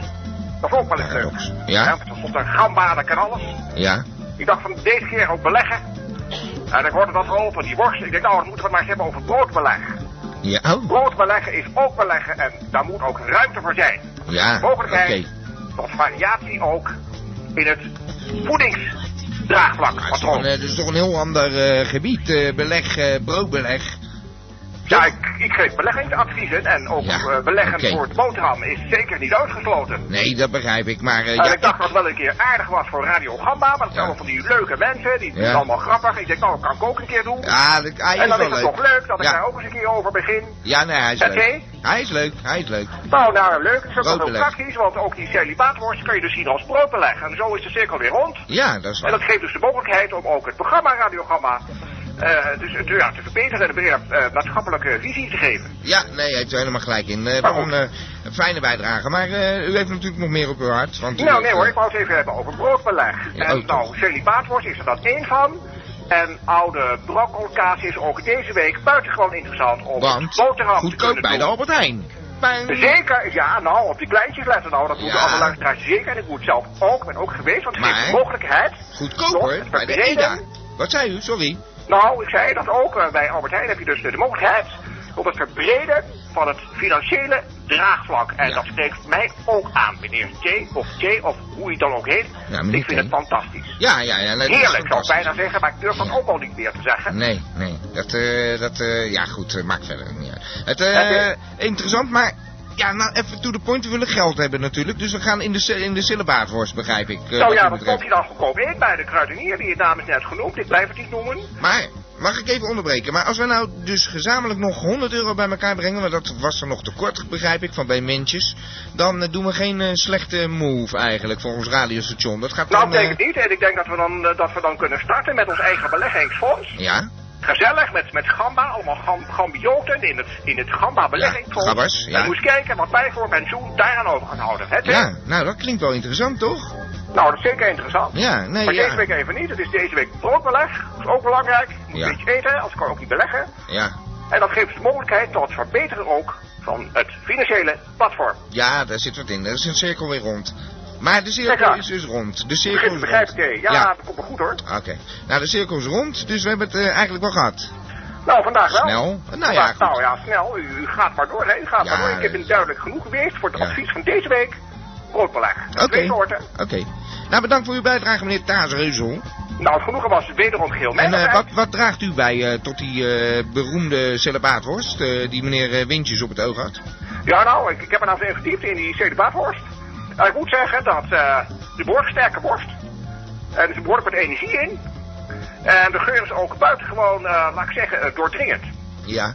S6: Dat vond ik wel eens
S2: Paradox.
S6: leuk.
S2: Ja.
S6: want Er stond een gamba, dat kan alles.
S2: Ja,
S6: Ik dacht van deze keer ook beleggen. En ik hoorde dat al over die worst. Ik denk, nou, dan moeten we het maar eens hebben over broodbeleg.
S2: ja, oh,
S6: Brood beleggen is ook beleggen en daar moet ook ruimte voor zijn.
S2: ja, Ah, oké.
S6: Mogelijkheid tot variatie ook in het voedingsdraagvlak.
S2: Maar het is toch
S6: Patroon.
S2: een, eh, dat is toch een heel ander eh, gebied, eh, beleg, eh, broodbeleg.
S6: Ja, ik, ik geef beleggingsadviezen en ook
S2: Ja,
S6: eh, beleggen
S2: oké.
S6: voor het boterham is zeker niet uitgesloten.
S2: Nee, dat begrijp ik, maar eh,
S6: En
S2: ja,
S6: ik dacht dat het wel een keer aardig was voor Radio Gamba, maar dat zijn
S2: Ja.
S6: allemaal van die leuke mensen, die die
S2: Ja.
S6: zijn allemaal grappig. Ik denk, nou, dat kan ik ook een keer doen.
S2: ja, dat, hij
S6: en
S2: is
S6: dan
S2: wel
S6: is het
S2: leuk.
S6: nog leuk dat ik
S2: ja.
S6: daar ook eens een keer over begin.
S2: ja, nee, hij is
S6: Oké.
S2: leuk. Hij is leuk, hij is leuk.
S6: Nou, nou, leuk. Het is ook wel heel
S2: Broodbeleg.
S6: praktisch, want ook die celibaatworst kun je dus zien als broodbeleg. En zo is de cirkel weer rond.
S2: Ja, dat is
S6: En dat
S2: waar.
S6: geeft dus de mogelijkheid om ook het programma Radiogramma eh dus, eh, ja, te verbeteren en een breder eh, maatschappelijke visie te geven.
S2: Ja, nee, hij heeft er helemaal gelijk in. Eh, waarom eh, een fijne bijdrage, maar eh, u heeft natuurlijk nog meer op uw hart. Want u
S6: Nou,
S2: heeft,
S6: nee hoor,
S2: eh,
S6: ik wou het even hebben over broodbeleg.
S2: Ja,
S6: en
S2: ook
S6: nou,
S2: toch.
S6: celibaatworst is er dan één van. En oude brokkelkaas is ook deze week buitengewoon interessant om
S2: Want,
S6: boterham te
S2: goedkoop
S6: kunnen
S2: bij de
S6: doen.
S2: Albert Heijn. Bij-
S6: Zeker, ja, nou, op die kleintjes letten nou, dat moeten
S2: Ja.
S6: alle luisteraars zeker. En ik moet zelf ook, ben ook geweest, want het geeft de
S2: Maar-
S6: mogelijkheid.
S2: Goedkoper
S6: Nog,
S2: bij de
S6: verbreden.
S2: EDA. Wat zei u? Sorry.
S6: Nou, ik zei dat ook. eh, Bij Albert Heijn heb je dus de mogelijkheid op het verbreden van het financiële draagvlak. En
S2: Ja.
S6: dat spreekt mij ook aan, meneer J of J of hoe je dan ook heet.
S2: Ja, meneer
S6: ik vind
S2: J.
S6: het fantastisch.
S2: Ja, ja, ja. nee, dat is
S6: Heerlijk, zou ik
S2: fantastisch.
S6: bijna zeggen, maar ik durf dat
S2: Ja.
S6: ook al niet meer te zeggen.
S2: Nee, nee. Dat, eh, dat eh, ja goed, eh, maakt verder niet uit. Het,
S6: Oké.
S2: eh, interessant, maar ja, nou, even to the point. We willen geld hebben natuurlijk. Dus we gaan in de, cel- in de syllabaarvorst, begrijp ik. eh,
S6: nou
S2: wat
S6: ja,
S2: dat
S6: wat
S2: betreft.
S6: komt hij dan goedkoop in bij de kruidenier? Die naam is net genoemd, ik blijf het niet noemen.
S2: Maar, mag ik even onderbreken? Maar als we nou dus gezamenlijk nog 100 euro bij elkaar brengen, want dat was er nog tekort, begrijp ik, van bij mensjes, dan eh, doen we geen eh, slechte move eigenlijk voor ons radiostation. Dat gaat dan...
S6: Nou, ik
S2: eh,
S6: denk het niet. En ik denk dat we dan, eh, dat we dan kunnen starten met ons eigen beleggingsfonds.
S2: eh, Ja?
S6: Gezellig, met, met gamba, allemaal gam, gambioten in het, in het gamba beleggingsfonds.
S2: Ja, gabbers, ja.
S6: En moest kijken wat wij voor pensioen daaraan over gaan houden. hè, Tim?
S2: Ja, nou dat klinkt wel interessant, toch?
S6: Nou, dat is zeker interessant.
S2: Ja, nee,
S6: maar deze
S2: ja.
S6: week even niet. Het is deze week broodbeleg. Dat is ook belangrijk. Je moet
S2: Ja.
S6: een beetje eten, anders kan je ook niet beleggen.
S2: Ja.
S6: En dat geeft de mogelijkheid tot het verbeteren ook van het financiële platform.
S2: Ja, daar zit wat in. Er is een cirkel weer rond. Maar de cirkel
S6: Lekker.
S2: is dus rond. De
S6: Begin
S2: cirkel
S6: te
S2: is
S6: begrijpen,
S2: rond.
S6: Thee. Ja,
S2: Ja.
S6: dat komt wel goed hoor.
S2: Oké. Nou, de cirkel is rond, dus we hebben het eh, eigenlijk wel gehad.
S6: Nou, vandaag wel.
S2: Snel. Nou ja,
S6: Vandaag-
S2: goed.
S6: nou ja, snel. U, u gaat maar door. Hè. U gaat
S2: Ja,
S6: maar door. Ik heb
S2: dat
S6: het
S2: is-
S6: duidelijk genoeg geweest voor het
S2: Ja.
S6: advies van deze week. Broodbeleg.
S2: Oké.
S6: Twee soorten.
S2: Oké. Nou, bedankt voor uw bijdrage, meneer Taasreuzel.
S6: Nou, het genoegen was wederom geel.
S2: En eh,
S6: Menigheid.
S2: wat, wat draagt u bij eh, tot die eh, beroemde celibaatworst eh, die meneer eh, Windjes op het oog had?
S6: Ja, nou, ik, ik heb me nou eens even verdiept in die zedebaatworst. En ik moet zeggen dat eh de behoorlijk sterke worst. En er zit behoorlijk wat energie in. En de geur is ook buitengewoon, eh, laat ik zeggen, eh, doordringend.
S2: Ja.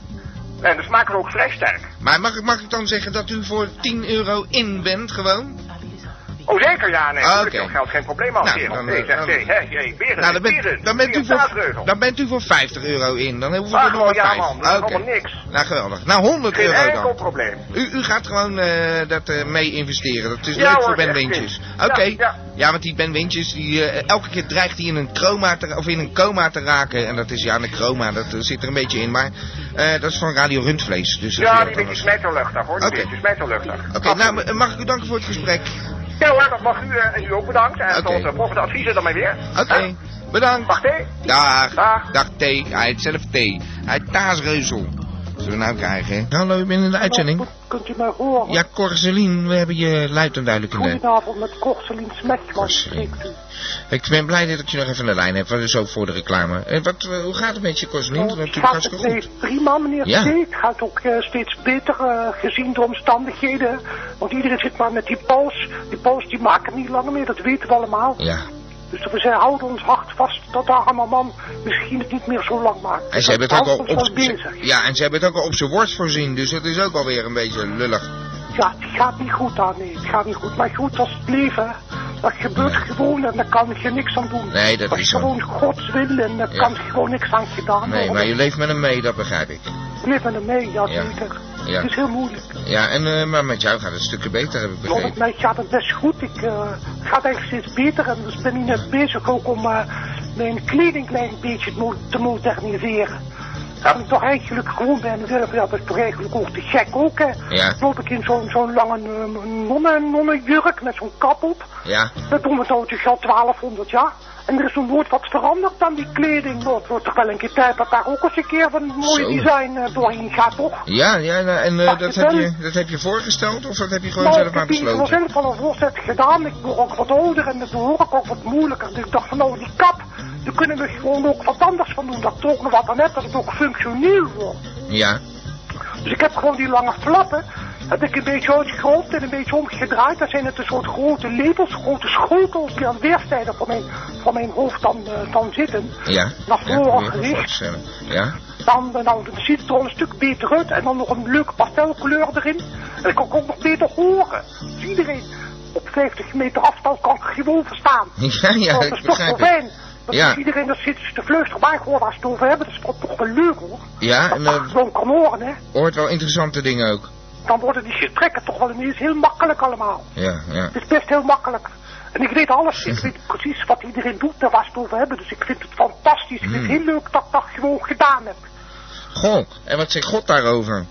S6: En de smaak is ook vrij sterk.
S2: Maar mag ik, mag ik dan zeggen dat u voor 10 euro in bent gewoon?
S6: Oh, zeker, ja, nee.
S2: Ah,
S6: natuurlijk,
S2: oké.
S6: dat geldt geen probleem als
S2: Nou,
S6: heer.
S2: dan,
S6: Want nee,
S2: eh,
S6: zegt
S2: dan-
S6: nee, hè, jee, beren,
S2: nou, dan,
S6: beren,
S2: bent dan, bent u
S6: beren,
S2: voor,
S6: zaadreugel.
S2: dan bent u voor 50 euro in. Dan hoeven we
S6: Ah,
S2: er nog maar
S6: gewoon, ja,
S2: vijf.
S6: man, dat is
S2: Oké.
S6: allemaal niks.
S2: Nou, geweldig. Nou, 100
S6: Geen
S2: euro
S6: enkel
S2: dan.
S6: probleem.
S2: U, u gaat gewoon eh, dat eh, mee investeren. Dat is
S6: Ja
S2: leuk
S6: hoor,
S2: voor Ben
S6: echt
S2: Wintjes.
S6: kind.
S2: Oké.
S6: Ja, ja.
S2: want die Ben Wintjes, die, eh, elke keer dreigt hij in een, chroma te, of in een coma te raken. En dat is ja, een chroma, dat eh, zit er een beetje in. Maar eh, dat is van Radio Rundvlees. Dus dat is weer
S6: Ja, die
S2: wat
S6: beetje
S2: anders.
S6: smijt wel luchtig, hoor. Die
S2: Oké.
S6: beetje smijt wel luchtig.
S2: Oké, nou eh, mag ik u danken voor het gesprek.
S6: Ja hoor, dat mag u eh, en u ook bedankt. En
S2: Oké.
S6: tot de volgende adviezen dan maar weer.
S2: Oké, bedankt.
S6: Wacht even.
S2: Dag.
S6: Dag.
S2: Dag T. Hij heet zelf T. Hij heet Taasreuzel. Zullen we nou krijgen? Hallo, je bent in de uitzending.
S8: Kunt u mij horen?
S2: Ja, Corseline, we hebben je luid en duidelijk in de...
S8: Goedenavond met Korselien Smetman
S2: Korselien.
S8: spreekt u.
S2: Ik ben blij dat ik je nog even in de lijn heb, want zo voor de reclame. Eh, wat, eh, hoe gaat het met je, Corseline?
S8: Oh,
S2: Natuurlijk
S8: gaat
S2: hartstikke
S8: het
S2: goed.
S8: steeds Prima, meneer
S2: Ja.
S8: ja. Het gaat ook eh, steeds beter eh, gezien de omstandigheden. Want iedereen zit maar met die paus. Die paus die maken niet langer meer, dat weten we allemaal.
S2: Ja,
S8: Dus we zijn, houden ons hart vast dat de arme man misschien het niet meer zo lang maakt.
S2: en ze hebben het ook al op,
S8: op... bezig.
S2: ze- ja, en ze hebben het ook al op zijn worst voorzien, dus dat is ook alweer een beetje lullig.
S8: Ja, het gaat niet goed aan, nee. Het gaat niet goed. Maar goed, dat is het leven. hè. Dat gebeurt
S2: Nee.
S8: gewoon en daar kan je niks aan doen.
S2: Nee, dat is zo.
S8: gewoon Gods wil en daar
S2: Ja.
S8: kan gewoon niks aan gedaan
S2: Nee, maar
S8: worden.
S2: je leeft met hem mee, dat begrijp ik.
S8: Leven er mee, ja,
S2: Ja.
S8: zeker.
S2: Ja.
S8: Het is heel moeilijk.
S2: Ja, en, eh, maar met jou gaat het stukken beter, heb ik
S8: Ja, met
S2: begrepen.
S8: mij gaat het best goed. Ik eh, het gaat eigenlijk steeds beter. En dus ben ik net bezig ook om eh, mijn kleding klein beetje te mo- te moderniseren. Dat ik toch eigenlijk gewoon bij mezelf, ja, dat is toch eigenlijk ook te gek ook, hè.
S2: Ja.
S8: Loop ik in zo'n zo'n lange eh, nonnen, nonnenjurk met zo'n kap op.
S2: Ja,
S8: Dat doen we zo tussen al 1200 jaar. En er is nog nooit wat veranderd aan die kleding. Nou, Het wordt toch wel een keer tijd dat daar ook eens een keer een mooi
S2: Zo.
S8: design eh, doorheen gaat, toch?
S2: ja, ja nou, en eh,
S8: Mag
S2: dat,
S8: ik
S2: heb
S8: wel?
S2: je, dat heb je voorgesteld of dat heb je gewoon
S8: Nou,
S2: zelf
S8: ik
S2: maar
S8: heb hier wel
S2: besloten?
S8: zelf al een voorzet gedaan. Ik word ook wat ouder en dat behoor ik ook wat moeilijker. Dus ik dacht van nou, die kap, daar kunnen we gewoon ook wat anders van doen. Dat ik er ook nog wat aan heb, dat het ook functioneel wordt.
S2: Ja,
S8: Dus ik heb gewoon die lange flappen, heb ik een beetje uitgeroofd en een beetje omgedraaid. Daar zijn het een soort grote lepels, grote schotels die aan weerszijden van mijn, van mijn hoofd dan, eh, dan zitten.
S2: ja.
S8: Naar
S2: ja,
S8: voren
S2: probeer me voor te
S8: gericht.
S2: stellen. Ja,
S8: Dan, eh, nou, dan ziet het er al een stuk beter uit. En dan nog een leuke pastelkleur erin. En dan kan ik ook nog beter horen. Dus iedereen op 50 meter afstand kan ik gewoon verstaan.
S2: ja, ja,
S8: Nou,
S2: ik
S8: dat is toch wel
S2: begrijp het.
S8: fijn. Dat
S2: Ja.
S8: is iedereen dat zit te fluisteren. Maar gewoon waar ze het over hebben, dat is toch wel leuk hoor.
S2: Ja,
S8: Dat
S2: en
S8: dat
S2: eh
S8: gewoon kan horen, hè.
S2: hoort wel interessante dingen ook.
S8: Dan worden die gesprekken toch wel ineens heel makkelijk allemaal.
S2: Ja, ja.
S8: Het is best heel makkelijk. En ik weet alles. Ik weet precies wat iedereen doet en waar ze het over hebben. Dus ik vind het fantastisch. Ik vind
S2: Mm.
S8: het heel leuk dat ik dat gewoon gedaan heb.
S2: Goh, en wat zegt God daarover?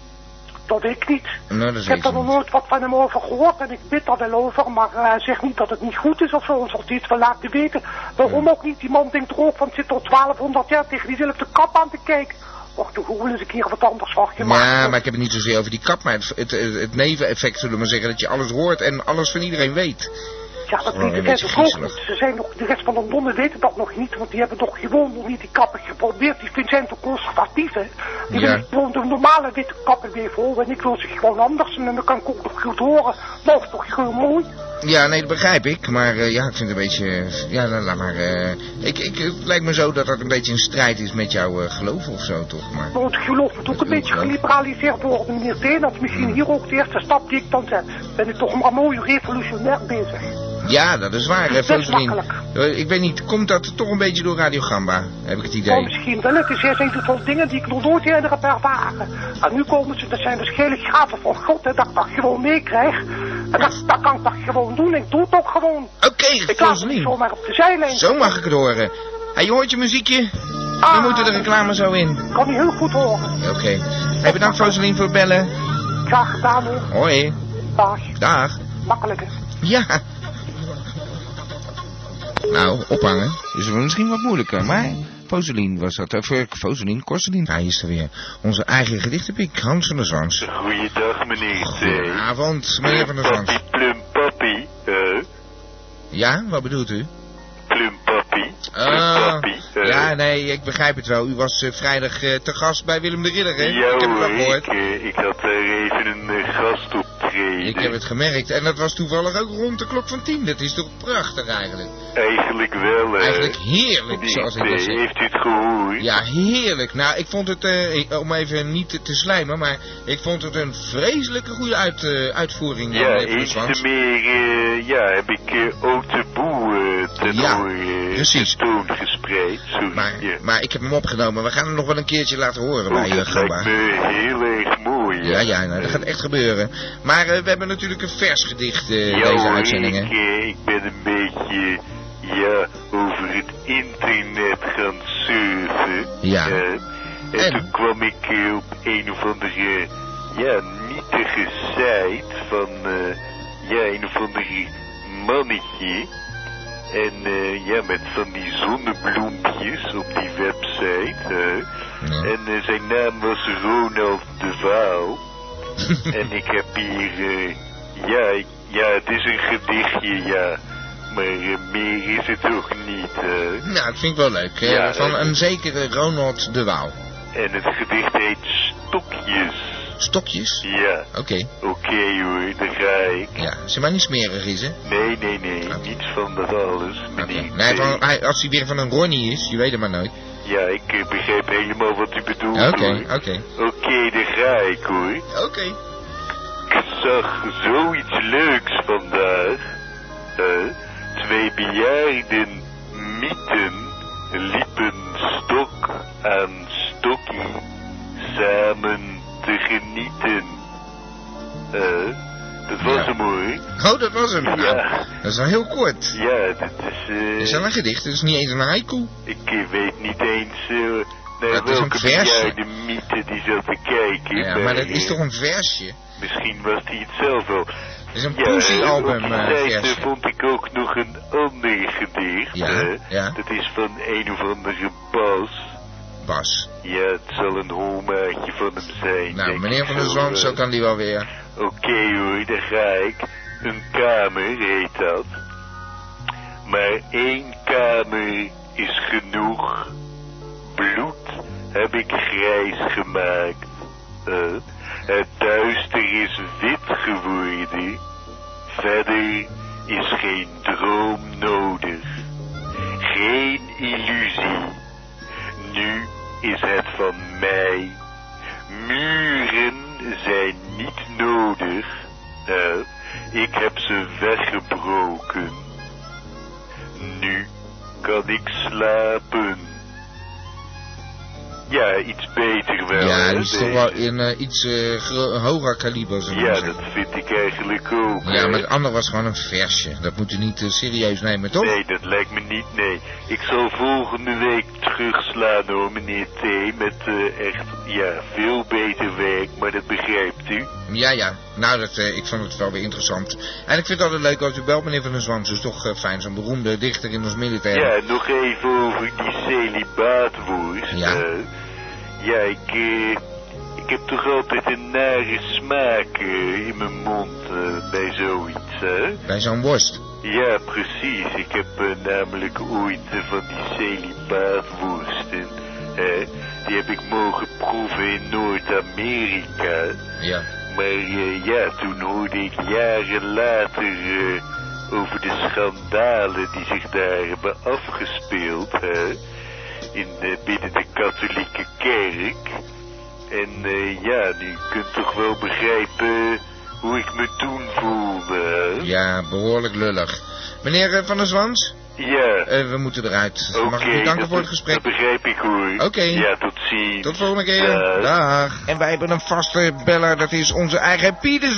S8: Dat ik niet.
S2: Nou, dat is
S8: Ik heb
S2: niks.
S8: daar nog nooit wat van hem over gehoord en ik bid daar wel over, maar eh, hij zegt niet dat het niet goed is of zo, ons had hij het wel laten weten. Waarom ook niet? Die man denkt er ook van, het zit al 1200 jaar tegen diezelfde kap aan te kijken. Och, de Google eens een keer wat anders van gemaakt.
S2: Ja, maar ik heb het niet zozeer over die kap, maar het, het, het neveneffect zullen we maar zeggen dat je alles hoort en alles van iedereen weet.
S8: Ja, dat
S2: Gewoon
S8: weet de
S2: een beetje
S8: rest ook
S2: griezelig.
S8: niet. Ze zijn nog, de rest van de nonnen weten dat nog niet, want die hebben toch gewoon nog niet die kappen geprobeerd. Die vind- zijn toch conservatief, hè? Die
S2: Ja.
S8: willen gewoon de normale witte kappen weer vol. En ik wil ze gewoon anders. En dan kan ik ook nog goed horen. Nou, is toch gewoon mooi.
S2: Ja, nee, dat begrijp ik. Maar eh, ja, ik vind het een beetje... eh, Ja, la- laat maar... eh, ik, ik, het lijkt me zo dat dat een beetje een strijd is met jouw eh, geloof of zo, toch? Maar...
S8: Maar het geloof moet ook een beetje geliberaliseerd worden, meneer Teen. Dat is misschien hier ook de eerste stap die ik dan zet. Ben ik toch maar mooi revolutionair bezig.
S2: Ja, dat is waar, hè,
S8: Dat is
S2: Foselien.
S8: makkelijk.
S2: Eh, Ik weet niet, komt dat toch een beetje door Radio Gamba? Heb ik het
S8: Maar
S2: idee.
S8: misschien wel. Het is eerst een van dingen die ik nog nooit eerder heb ervaren. En nu komen ze, dat zijn dus gele gaten van God, hè, dat ik dat gewoon meekrijg. En dat, dat kan ik dat gewoon doen. Ik doe het ook gewoon.
S2: Oké,
S8: Ik laat het niet
S2: Foselien.
S8: zomaar op de zijlijn.
S2: Zo mag ik het horen. Hij hoort je muziekje.
S8: Ah.
S2: Dan moeten de reclame zo in.
S8: Ik kan je heel goed horen.
S2: Oké. Hey, bedankt Foselien voor het bellen.
S8: Graag gedaan hoor.
S2: Hoi.
S8: Dag.
S2: Dag.
S8: Makkelijk hè.
S2: Ja. Nou, ophangen is misschien wat moeilijker, maar... Foselien was dat, of eh, Foselien, Korselien. Hij is er weer. Onze eigen gedichtenpiek, Hans van der Zwans.
S5: Goeiedag, meneer T.
S2: Goedenavond, Ah, meneer van der Zwans.
S5: Papi eh, Plumpapi, hè?
S2: Ja, wat bedoelt u?
S5: Plumpapi,
S2: Ah,
S5: Plumpapi, hè?
S2: ja, nee, ik begrijp het wel. U was eh, vrijdag eh, te gast bij Willem de Ridder, hè?
S5: Ja
S2: ik heb het wel
S5: hoor,
S2: gehoord.
S5: ik, eh, ik had daar even een eh, gast optreden.
S2: Ik heb het gemerkt. En dat was toevallig ook rond de klok van tien. Dat is toch prachtig eigenlijk.
S5: Eigenlijk wel, hè?
S2: Eigenlijk
S5: Meneer
S2: heerlijk, zoals ik
S5: Eh, T,
S2: dat zeg.
S5: Heeft u het gehoord?
S2: Ja, heerlijk. Nou, ik vond het, eh, ik- om even niet te- te slijmen, maar ik vond het een vreselijke goede uit, eh, uitvoering.
S5: Ja,
S2: van Lever de
S5: eens
S2: Zwans.
S5: te meer eh, ja, heb ik eh ook de boer eh, ten
S2: Ja,
S5: hoor eh,
S2: precies.
S5: tentoon gespreid. Sorry.
S2: Maar,
S5: ja.
S2: maar ik heb hem opgenomen. We gaan hem nog wel een keertje laten horen
S5: Oh,
S2: bij eh,
S5: dat lijkt
S2: Gamba.
S5: me heel erg mooi.
S2: Ja, ja, nou, dat gaat echt gebeuren. Maar eh, we hebben natuurlijk een vers gedicht eh,
S5: Ja,
S2: deze
S5: hoor,
S2: uitzending.
S5: Ik,
S2: hè?
S5: eh, ik ben een beetje ja, over het internet gaan surfen.
S2: Ja.
S5: Eh, en,
S2: En?
S5: toen kwam ik eh, op een of andere ja, nietige site van eh, ja, een of andere mannetje. En eh, ja, met van die zonnebloempjes op die website. hè.
S2: Ja.
S5: En eh, zijn naam was Ronald de Waal. En ik heb hier, eh, ja, ik- ja, het is een gedichtje, ja. Maar eh, meer is het ook niet. eh.
S2: Nou, dat vind ik wel leuk. eh,
S5: Ja,
S2: van
S5: eh,
S2: een zekere Ronald de Waal.
S5: En het gedicht heet Stokjes.
S2: Stokjes?
S5: Ja,
S2: Oké.
S5: oké hoor, daar ga ik.
S2: Ja, ze maar niet smerig is, hè?
S5: Nee, nee, nee,
S2: Oké.
S5: niets van dat alles,
S2: Oké.
S5: meneer.
S2: Nee,
S5: T.
S2: van, hij- als hij weer van een Ronnie is, je weet het maar nooit.
S5: Ja, ik eh, begrijp helemaal wat u bedoelt.
S2: Oké,
S5: hoor.
S2: oké.
S5: Oké, daar ga ik hoor.
S2: Oké.
S5: Ik zag zoiets leuks vandaag. Eh, twee bejaarden mieten liepen stok aan stokkie samen te genieten. Eh, dat was
S2: Ja.
S5: hem hoor.
S2: Oh, dat was hem. Nou,
S5: Ja.
S2: dat is wel heel kort.
S5: Ja, dat is... eh,
S2: Het is wel een gedicht, het is niet eens een haiku.
S5: ik eh, weet niet eens eh, naar
S2: Dat is een
S5: welke
S2: versje.
S5: bejaarden mieten die zat te kijken.
S2: Ja, maar dat
S5: eh,
S2: is toch een versje?
S5: Misschien was hij het zelf wel.
S2: Het is een poesiealbum,
S5: op
S2: eh,
S5: die tijd
S2: versje.
S5: eh, vond ik ook nog een ander gedicht.
S2: Ja,
S5: hè.
S2: ja.
S5: Dat is van een of andere Bas.
S2: Bas.
S5: Ja, het zal een homaatje van hem zijn. denk
S2: Nou,
S5: ik
S2: meneer van der
S5: zo,
S2: Zwan,
S5: eh.
S2: zo kan die wel weer.
S5: Oké hoor, daar ga ik. Een kamer heet dat. Maar één kamer is genoeg. Bloed heb ik grijs gemaakt. Eh, het duister is wit geworden. Verder is geen droom nodig. Geen illusie. Nu is het van mij. Muren zijn niet nodig. Eh, ik heb ze weggebroken. Nu kan ik slapen. Ja, iets beter wel.
S2: ja,
S5: hè,
S2: dat is toch
S5: deze.
S2: wel in eh, iets eh, gro- hoger kaliber, zullen we
S5: Ja,
S2: maar
S5: dat
S2: zeggen.
S5: vind ik eigenlijk ook.
S2: Ja,
S5: hè.
S2: maar het andere was gewoon een versje. Dat moet u niet eh, serieus nemen, toch?
S5: Nee, dat lijkt me niet, nee. Ik zal volgende week terugslaan hoor, meneer T. Met eh, echt, ja, veel beter werk, maar dat begrijpt u.
S2: Ja, ja. Nou, dat, eh, ik vond het wel weer interessant. En ik vind het altijd leuk als u belt, meneer Van der Zwans. Dat is toch eh, fijn, zo'n beroemde dichter in ons militair.
S5: Ja, nog even over die celibaatwoers.
S2: Ja.
S5: eh. ja, ik, eh, ik heb toch altijd een nare smaak eh, in mijn mond eh, bij zoiets, hè?
S2: Bij zo'n worst.
S9: Ja, precies. Ik heb eh, namelijk ooit eh, van die celibaatworsten. eh, die heb ik mogen proeven in Noord-Amerika.
S2: Ja.
S9: Maar eh, ja, toen hoorde ik jaren later eh, over de schandalen die zich daar hebben afgespeeld. hè, in, eh, binnen de katholieke kerk. En eh, ja, nu kunt toch wel begrijpen eh, hoe ik me toen voelde. hè?
S2: Ja, behoorlijk lullig. Meneer eh, Van der Zwans,
S9: Ja.
S2: eh, we moeten eruit.
S9: Oké,
S2: Mag ik u danken
S9: dat
S2: voor het
S9: be-
S2: gesprek?
S9: Dat begrijp ik hoor.
S2: Oké.
S9: Ja, tot ziens. Eh,
S2: Tot volgende keer.
S9: Dag.
S4: Eh,
S2: Dag. En wij hebben een vaste beller, dat is onze eigen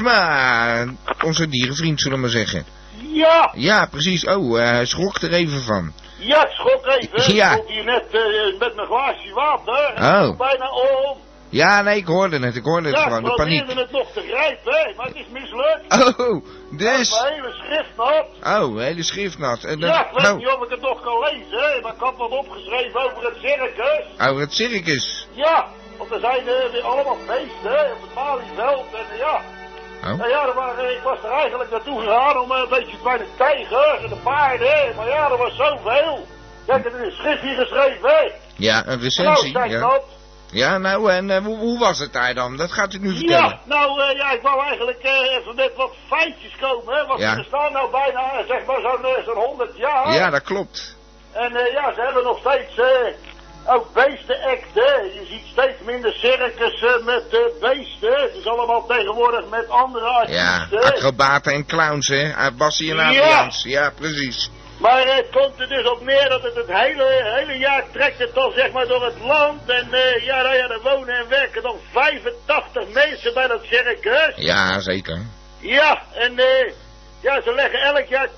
S2: Pietersma. Onze dierenvriend, zullen we maar zeggen.
S4: Ja,
S2: Ja, precies. Oh, eh, hij schrok er even van.
S4: ja, ik schrok even.
S2: Ja.
S4: Ik stond hier net eh, met mijn glaasje water. en
S2: Oh.
S4: ik stond Bijna om.
S2: Ja, nee, ik hoorde het. Ik hoorde het
S4: Ja,
S2: gewoon.
S4: ik
S2: De paniek.
S4: probeerde het nog te grijpen, hè, maar het is mislukt.
S2: Oh,
S4: Ik heb
S2: dus.
S4: Mijn hele schrift nat.
S2: Oh, hele schrift nat. En dan-
S4: Ja, ik weet
S2: nou,
S4: niet of ik het nog kan lezen, hè, maar ik had wat opgeschreven over het circus.
S2: over oh, het circus.
S4: Ja, want er zijn eh, weer allemaal feesten hè, op het Malieveld. En eh, ja,
S2: Oh,
S4: nou ja er waren, eh, ik was er eigenlijk naartoe gegaan om eh, een beetje bij de tijgers en de paarden. Maar ja, er was zoveel. Ja, ik heb er een schriftje geschreven, hè.
S2: ja, een
S4: Nou,
S2: recensie.
S4: zijn
S2: Ja,
S4: dat.
S2: ja nou, en eh, hoe, hoe was het daar dan? Dat gaat u nu vertellen.
S4: Ja, nou eh, ja, ik wou eigenlijk eh, even met wat feitjes komen. Hè, want
S2: Ja.
S4: ze bestaan nou bijna eh, zeg maar zo'n eh, zo'n 100 jaar.
S2: Ja, dat klopt.
S4: En eh, ja, ze hebben nog steeds eh, ook beestenacten. Je ziet steeds minder circussen met eh, beesten. Het is allemaal tegenwoordig met andere
S2: Ja,
S4: artiesten.
S2: acrobaten en clowns, hè? Ah, Bassie en
S4: Ja.
S2: Adriaans. Ja, precies.
S4: Maar eh, het komt er dus op neer dat het het hele, hele jaar trekt het dan zeg maar door het land. En eh, ja, nou ja, er wonen en werken dan 85 mensen bij dat circus.
S2: Ja, zeker.
S4: Ja, en eh, ja, ze leggen elk jaar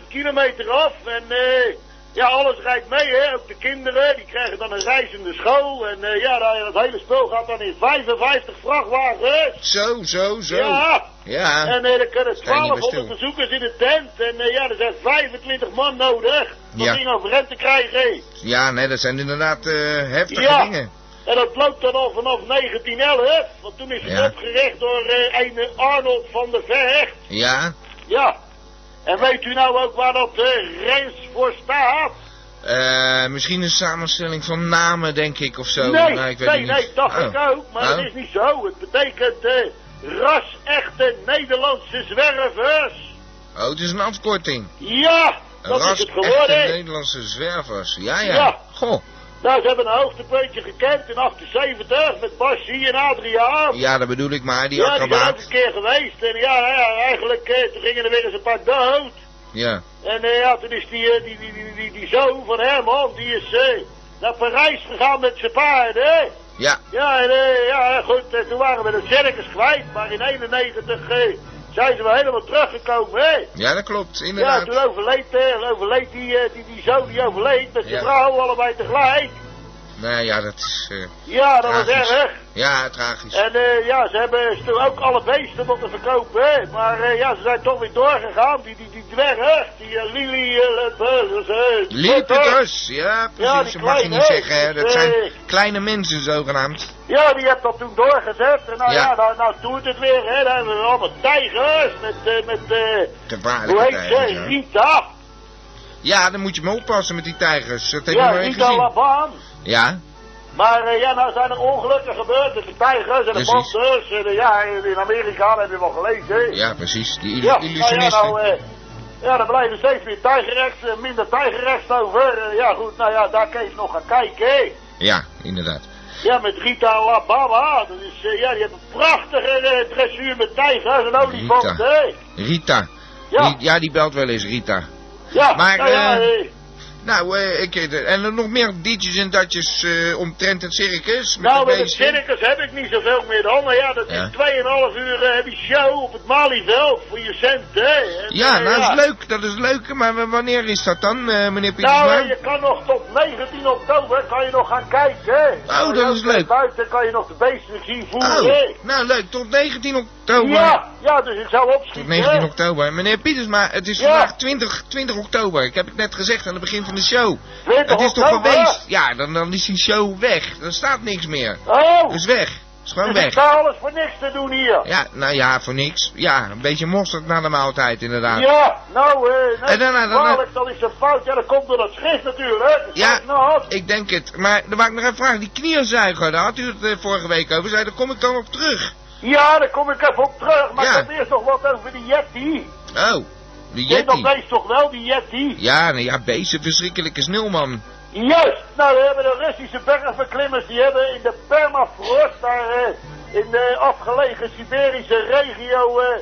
S4: 10.000 kilometer af. En eh, ja, alles rijdt mee, hè. Ook de kinderen, die krijgen dan een reizende school. En eh, ja, nou, dat hele spul gaat dan in 55 vrachtwagens.
S2: Zo, zo, zo. Ah.
S4: Ja,
S2: Ja,
S4: en eh, er kunnen
S2: Sta je niet meer stil.
S4: 1200 bezoekers in de tent. En eh, ja, er zijn 25 man nodig om
S2: Ja.
S4: die over rent te krijgen.
S2: Ja, nee, dat zijn inderdaad eh, heftige
S4: Ja.
S2: dingen.
S4: En dat loopt dan al vanaf 1911. Want toen is het
S2: Ja.
S4: opgericht door eh, een Arnold van der Vecht.
S2: Ja.
S4: Ja. En weet u nou ook waar dat eh Rens voor staat?
S2: Eh, misschien een samenstelling van namen, denk ik, of zo.
S4: nee,
S2: Nou, ik weet
S4: nee,
S2: het
S4: nee,
S2: niet.
S4: dacht
S2: Oh.
S4: ik ook. Maar
S2: Oh.
S4: dat is niet zo. Het betekent eh ras-echte Nederlandse zwervers.
S2: Oh, het is een afkorting.
S4: Ja, dat
S2: Ras
S4: is het
S2: echte
S4: geworden.
S2: Nederlandse zwervers. Ja, ja.
S4: Ja.
S2: Goh.
S4: Nou, ze hebben een hoogtepuntje gekend in 78 met Bassi en Adriaan.
S2: Ja, dat bedoel ik maar, die
S4: ja, die zijn ook
S2: acrobaat.
S4: een keer geweest. En ja, nou ja eigenlijk eh, toen gingen er weer eens een paar dood.
S2: Ja.
S4: En eh, ja, toen is die, eh, die, die, die, die, die zoon van Herman, die is eh, naar Parijs gegaan met zijn paarden. hè.
S2: Ja.
S4: Ja, en, eh, ja, goed, eh, toen waren we de circus kwijt, maar in 91 eh, zijn ze weer helemaal teruggekomen, hè?
S2: Ja, dat klopt,
S4: Ja,
S2: inderdaad.
S4: toen overleed, eh, overleed die, eh, die, die zoon, die overleed met zijn
S2: Ja.
S4: vrouw, allebei tegelijk.
S2: Nee, ja, dat is... eh,
S4: Ja, dat was
S2: Tragisch.
S4: erg.
S2: ja, tragisch.
S4: En eh, ja, ze hebben ze toen ook alle beesten moeten verkopen, hè? Maar eh, ja, ze zijn toch weer doorgegaan, die, die, die dwerg, die eh, Lili... eh, eh, eh,
S2: Liepitus, ja, precies.
S4: Ja, die
S2: dat mag je
S4: kleine,
S2: niet
S4: hè.
S2: zeggen, hè. Dat
S4: Dus,
S2: zijn
S4: eh,
S2: kleine mensen, zogenaamd.
S4: Ja, die hebt dat toen doorgezet. En nou
S2: Ja.
S4: ja, nou, nou doet het weer. Hè. Dan hebben we allemaal tijgers met, eh, met eh, hoe
S2: Gevaarlijke
S4: heet ze?
S2: tijgers, hè.
S4: Rita.
S2: Ja, dan moet je me oppassen met die tijgers. Dat heb je
S4: Ja,
S2: maar één
S4: Rita
S2: gezien.
S4: Laban.
S2: Ja,
S4: Maar eh, ja, nou zijn er ongelukken gebeurd met de tijgers en de
S2: Precies.
S4: panthers. En eh, ja, in in Amerika, dat heb je wel gelezen. hè.
S2: ja, precies. Die illu-
S4: ja, nou ja,
S2: illusionisten.
S4: nou... eh, ja, er blijven steeds meer tijgerrechts, eh, minder tijgerrechts over. Eh, ja, goed, nou ja, daar kun je nog gaan kijken, hè.
S2: Ja, inderdaad.
S4: Ja, met Rita Lababa. Dat is, eh, ja, die heeft een prachtige eh, dressuur met tijgers en olifanten,
S2: Rita.
S4: hè.
S2: Rita.
S4: Ja.
S2: Die, ja, die belt wel eens, Rita.
S4: Ja,
S2: Maar,
S4: nou ja,
S2: eh,
S4: eh,
S2: Nou, eh, ik, en er nog meer ditjes en datjes eh, omtrent het circus. Met
S4: nou,
S2: de
S4: met het
S2: beesten.
S4: circus heb ik niet zoveel meer dan. Maar ja, dat
S2: Ja.
S4: is 2,5 uur eh, heb je show op het Malieveld voor je cent, hè. En,
S2: Ja,
S4: eh,
S2: nou, dat is leuk, dat is leuk. Maar w- wanneer is dat dan, eh, meneer Pietersma?
S4: Nou, eh, je kan nog tot 19 oktober kan je nog gaan kijken, hè.
S2: Oh, dat
S4: Ja,
S2: is leuk.
S4: Buiten kan je nog de beesten zien voeren, hè.
S2: oh, nou leuk, tot 19 oktober.
S4: eh, Ja, ja, dus ik zou opschieten,
S2: Tot 19
S4: hè.
S2: oktober. Meneer Pietersma, het is
S4: Ja.
S2: vandaag 20, 20 oktober. Ik heb het net gezegd aan het begin van de show.
S4: 20
S2: Het is toch
S4: oktober?
S2: geweest? Ja, dan, dan is die show weg. Dan staat niks meer.
S4: Oh,
S2: Dat is weg. Is gewoon
S4: Dus ik
S2: weg.
S4: sta alles voor niks te doen hier.
S2: Ja, nou ja, voor niks. Ja, een beetje mosterd na de maaltijd inderdaad.
S4: Ja, nou, eh, nou,
S2: En dan- dan- dan-
S4: kwalijk, dat is een fout. Ja, dat komt door dat schrift natuurlijk. Dat
S2: Ja.
S4: schrift Nou, had.
S2: Ik denk het. Maar dan wou ik nog even vragen. Die knieënzuiger, daar had u het eh, vorige week over. Zei, daar kom ik dan op terug.
S4: ja, daar kom ik even op terug. Maar
S2: Ja.
S4: ik heb eerst nog wat over die Yeti.
S2: Oh, de
S4: Ken dat
S2: Yeti.
S4: beest toch wel, die Yeti?
S2: Ja, nou ja, beesten, verschrikkelijke sneeuwman.
S4: Juist! Nou, we hebben de Russische bergverklimmers, die hebben in de permafrost, daar eh, in de afgelegen Siberische regio, eh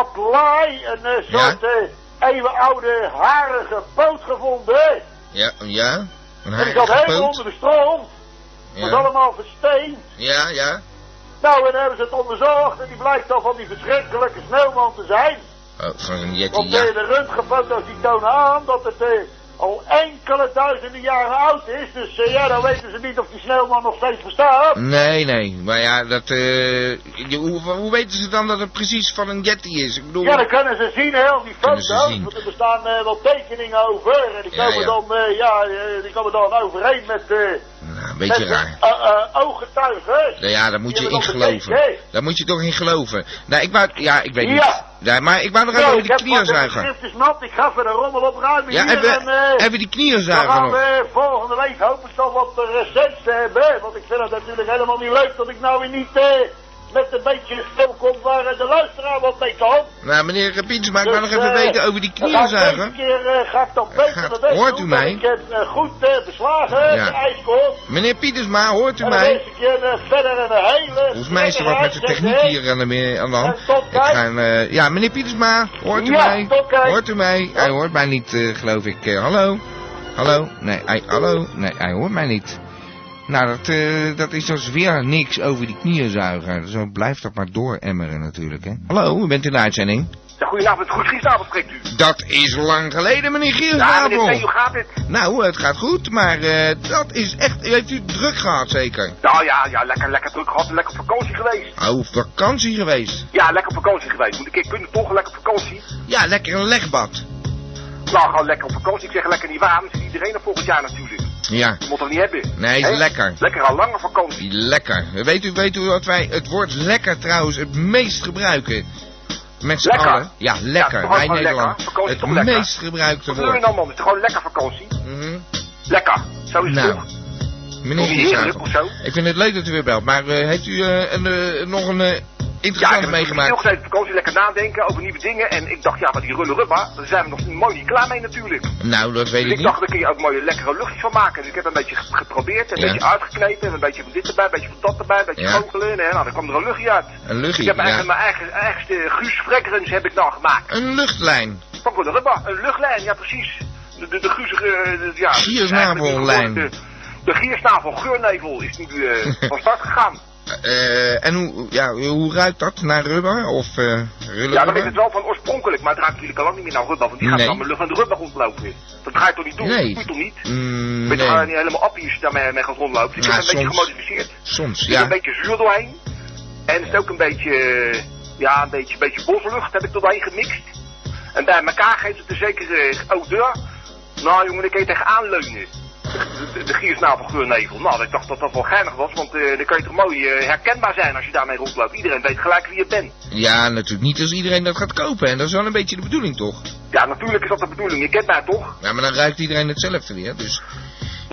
S4: Atlai, een eh,
S2: Ja.
S4: soort eh, eeuwenoude harige poot gevonden.
S2: Ja, ja. Een
S4: En die zat
S2: harige
S4: helemaal onder
S2: poot.
S4: de stroom, was
S2: Ja,
S4: allemaal versteend.
S2: ja. ja.
S4: Nou, en dan hebben ze het onderzocht en die blijkt dan van die verschrikkelijke sneeuwman te zijn.
S2: Oh, van een Yeti,
S4: Want eh,
S2: ja.
S4: de röntgenfoto's die tonen aan dat het eh, al enkele duizenden jaren oud is. Dus eh, ja, dan weten ze niet of die sneeuwman nog steeds bestaat.
S2: Nee, nee. Maar ja, dat... eh, je- hoe, hoe weten ze dan dat het precies van een Yeti is? Ik bedoel...
S4: Ja, dan kunnen ze zien, hè, al die
S2: Kunnen ze
S4: foto's.
S2: zien.
S4: Want er bestaan eh, wel tekeningen over. En die
S2: Ja,
S4: komen,
S2: ja.
S4: Dan, eh, ja, eh, die komen dan overeen met, eh
S2: Nou, een
S4: met
S2: beetje raar.
S4: eh, eh, ooggetuigen.
S2: Nou ja, daar moet
S4: Die
S2: je in
S4: hebben nog een
S2: geloven.
S4: beetje.
S2: Daar moet je toch in geloven. Nou, ik wou... Ja, ik weet
S4: Ja.
S2: niet. Ja, maar ik wou nog even
S4: Nou,
S2: over
S4: ik
S2: die
S4: heb wat, eh, het
S2: knieënzuiger.
S4: schrift is nat, ik ga verder rommel opruimen
S2: Ja,
S4: hier.
S2: hebben,
S4: en, eh,
S2: hebben die
S4: dan
S2: knieënzuiger
S4: gaan
S2: nog?
S4: we volgende week hopen dan wat eh, recents te hebben. Want ik vind het natuurlijk helemaal niet leuk dat ik nou weer niet eh, met een beetje stil kom waar eh, de luisteraar wat mee kan.
S2: Nou, meneer Pieters, maar ik wou nog
S4: Dus,
S2: even
S4: eh,
S2: weten over die
S4: dan ga ik
S2: knieënzuiger.
S4: Deze keer eh, ga ik dan beter
S2: Gaat-
S4: mijn best
S2: hoort
S4: doen
S2: u
S4: dat
S2: mij?
S4: Ik heb eh, goed eh, beslagen,
S2: Ja.
S4: de ijskool.
S2: Meneer Pietersma, hoort u
S4: En dan
S2: mij?
S4: deze keer eh, verder en een hele...
S2: Volgens mij is er wat met de techniek hier aan de, me- aan de hand.
S4: En tot
S2: Ik
S4: kijk.
S2: ga een, eh, ja, meneer Pietersma, hoort u
S4: Ja,
S2: mij?
S4: tot kijk.
S2: Hoort u mij? Hij hoort mij niet, eh, geloof ik. Eh, hallo? Hallo? Nee, hij, hallo? Nee, hij hoort mij niet. Nou, dat, eh, dat is dus weer niks over die knieënzuiger. Zo blijft dat maar dooremmeren natuurlijk, hè. Hallo, u bent in de uitzending.
S6: Ja, goedenavond, goed gisteravond spreekt u.
S2: Dat is lang geleden, meneer
S6: Ja,
S2: Giersnabel.
S6: meneer T, hoe gaat het?
S2: nou, het gaat goed, maar eh, dat is echt... U heeft u druk gehad, zeker?
S6: Nou ja, ja, lekker, lekker druk gehad, en lekker op vakantie geweest.
S2: Oh, vakantie geweest.
S6: Ja, lekker op vakantie geweest. Moet ik een keer kunnen toch, lekker op vakantie.
S2: Ja, lekker een legbad.
S6: Nou, gewoon lekker op vakantie. Ik zeg lekker niet waar, maar zit iedereen er volgend jaar natuurlijk.
S2: Ja.
S6: Je moet het niet hebben.
S2: Nee, is
S6: Hè?
S2: lekker.
S6: Lekker al lange vakantie.
S2: Lekker. Weet u, weet u wat wij het woord lekker trouwens het meest gebruiken? Met z'n
S6: Lekker.
S2: allen? Ja, lekker.
S6: Ja, toch
S2: wij
S6: wel
S2: Nederland.
S6: lekker. Vakantie
S2: Het
S6: toch lekker?
S2: meest gebruikte
S6: Wat wil je
S2: woord.
S6: nou man? Het is gewoon lekker vakantie.
S2: Mhm.
S6: Lekker. Zo is het
S2: Nou,
S6: toch?
S2: Meneer
S6: Doe je heerlijk
S2: Giershuizen,
S6: of zo?
S2: ik vind het leuk dat u weer belt, maar eh, heeft u eh, een, eh, nog een eh,
S6: Ja, ik
S2: interessante
S6: heb
S2: meegemaakt?
S6: nog steeds op vakantie lekker nadenken over nieuwe dingen. En ik dacht, ja, maar die rulle rubba, daar zijn we nog mooi niet klaar mee natuurlijk.
S2: Nou, dat weet
S6: Dus
S2: ik
S6: ik
S2: niet.
S6: dacht, daar kun je ook mooie lekkere luchtjes van maken. Dus ik heb een beetje ge- geprobeerd, en een
S2: Ja.
S6: beetje uitgeknepen, en een beetje van dit erbij, een beetje van dat erbij, een beetje
S2: Ja.
S6: goochelen. En nou, dan kwam er een luchtje uit.
S2: Een
S6: Ik
S2: luchtje,
S6: heb eigenlijk
S2: ja.
S6: mijn eigen, eigenste Guus Frekrens heb ik nou gemaakt.
S2: Een luchtlijn.
S6: Van Rulle Rubba, een luchtlijn, ja precies. De, de, de guuzige, eh, de- ja.
S2: Giersnavellijn.
S6: eigenlijk niet gehoord, De, de giersnavel, geurnevel, is nu eh, van start gegaan.
S2: Eh, en hoe, ja, hoe ruikt dat? Naar rubber of eh rullen
S6: Ja, dat is het wel van oorspronkelijk, maar het ruikt natuurlijk al lang niet meer naar rubber, want die gaat
S2: Nee.
S6: dan met lucht aan de rubber rondlopen weer. Dat ga je toch niet doen?
S2: Nee.
S6: Dat moet je toch niet?
S2: Mm,
S6: Weet je, eh,
S2: nee.
S6: gaan niet helemaal appies daarmee mee gaan rondlopen. Dus
S2: Ja,
S6: ik heb een beetje
S2: soms.
S6: gemodificeerd. Er
S2: Soms,
S6: zit een
S2: ja.
S6: beetje zuur doorheen. En er zit ook een beetje, eh, ja, een beetje, beetje boslucht heb ik er doorheen gemixt. En bij elkaar geeft het een zekere odeur. Nou jongen, ik kan je tegenaan leunen. De, de, de giersnavelgeurnevel. Nou, ik dacht dat dat wel geinig was, want eh, dan kan je toch mooi eh, herkenbaar zijn als je daarmee rondloopt. Iedereen weet gelijk wie je bent.
S2: Ja, natuurlijk niet als iedereen dat gaat kopen. En dat is wel een beetje de bedoeling, toch?
S6: Ja, natuurlijk is dat de bedoeling. Je kent mij toch?
S2: Ja, maar dan ruikt iedereen hetzelfde weer, dus...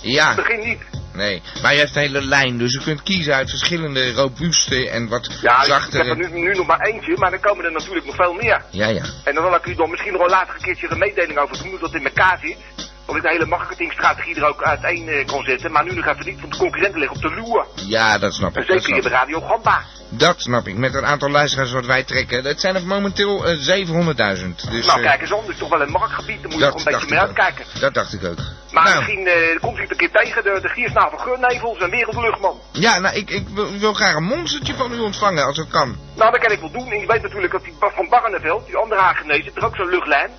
S2: Ja,
S6: Begin niet.
S2: nee. Maar je hebt een hele lijn, dus je kunt kiezen uit verschillende robuuste en wat
S6: Ja, ik heb
S2: zachtere...
S6: er nu, nu nog maar eentje, maar er komen er natuurlijk nog veel meer.
S2: Ja, ja.
S6: En dan wil ik u dan misschien nog wel later een keertje een mededeling over doen, hoe dat in elkaar zit. Dat ik de hele marketingstrategie er ook uiteen eh, kon zetten. Maar nu nog even niet, want de concurrenten liggen op de loer.
S2: Ja, dat snap
S6: En
S2: ik. Dat
S6: zeker hier
S2: snap
S6: bij
S2: ik.
S6: Radio Gamba.
S2: Dat snap ik. Met het aantal luisteraars wat wij trekken. Dat zijn er momenteel eh, 700.000. Dus,
S6: nou,
S2: eh,
S6: kijk eens om, dit is toch wel een marktgebied, daar moet je
S2: dat
S6: toch een
S2: dacht
S6: beetje
S2: ik
S6: mee
S2: ook.
S6: uitkijken.
S2: Dat dacht ik ook.
S6: Maar
S2: nou,
S6: misschien eh, komt u het een keer tegen, de, de giersnavel Geurnevels en Wereldluchtman.
S2: Ja, nou, ik, ik wil, wil graag een monstertje van u ontvangen, als het kan.
S6: Nou, dat kan ik wel doen. En je weet natuurlijk dat die Bas van Barneveld, die andere Hagenees, heeft er ook zo'n luchtlijn.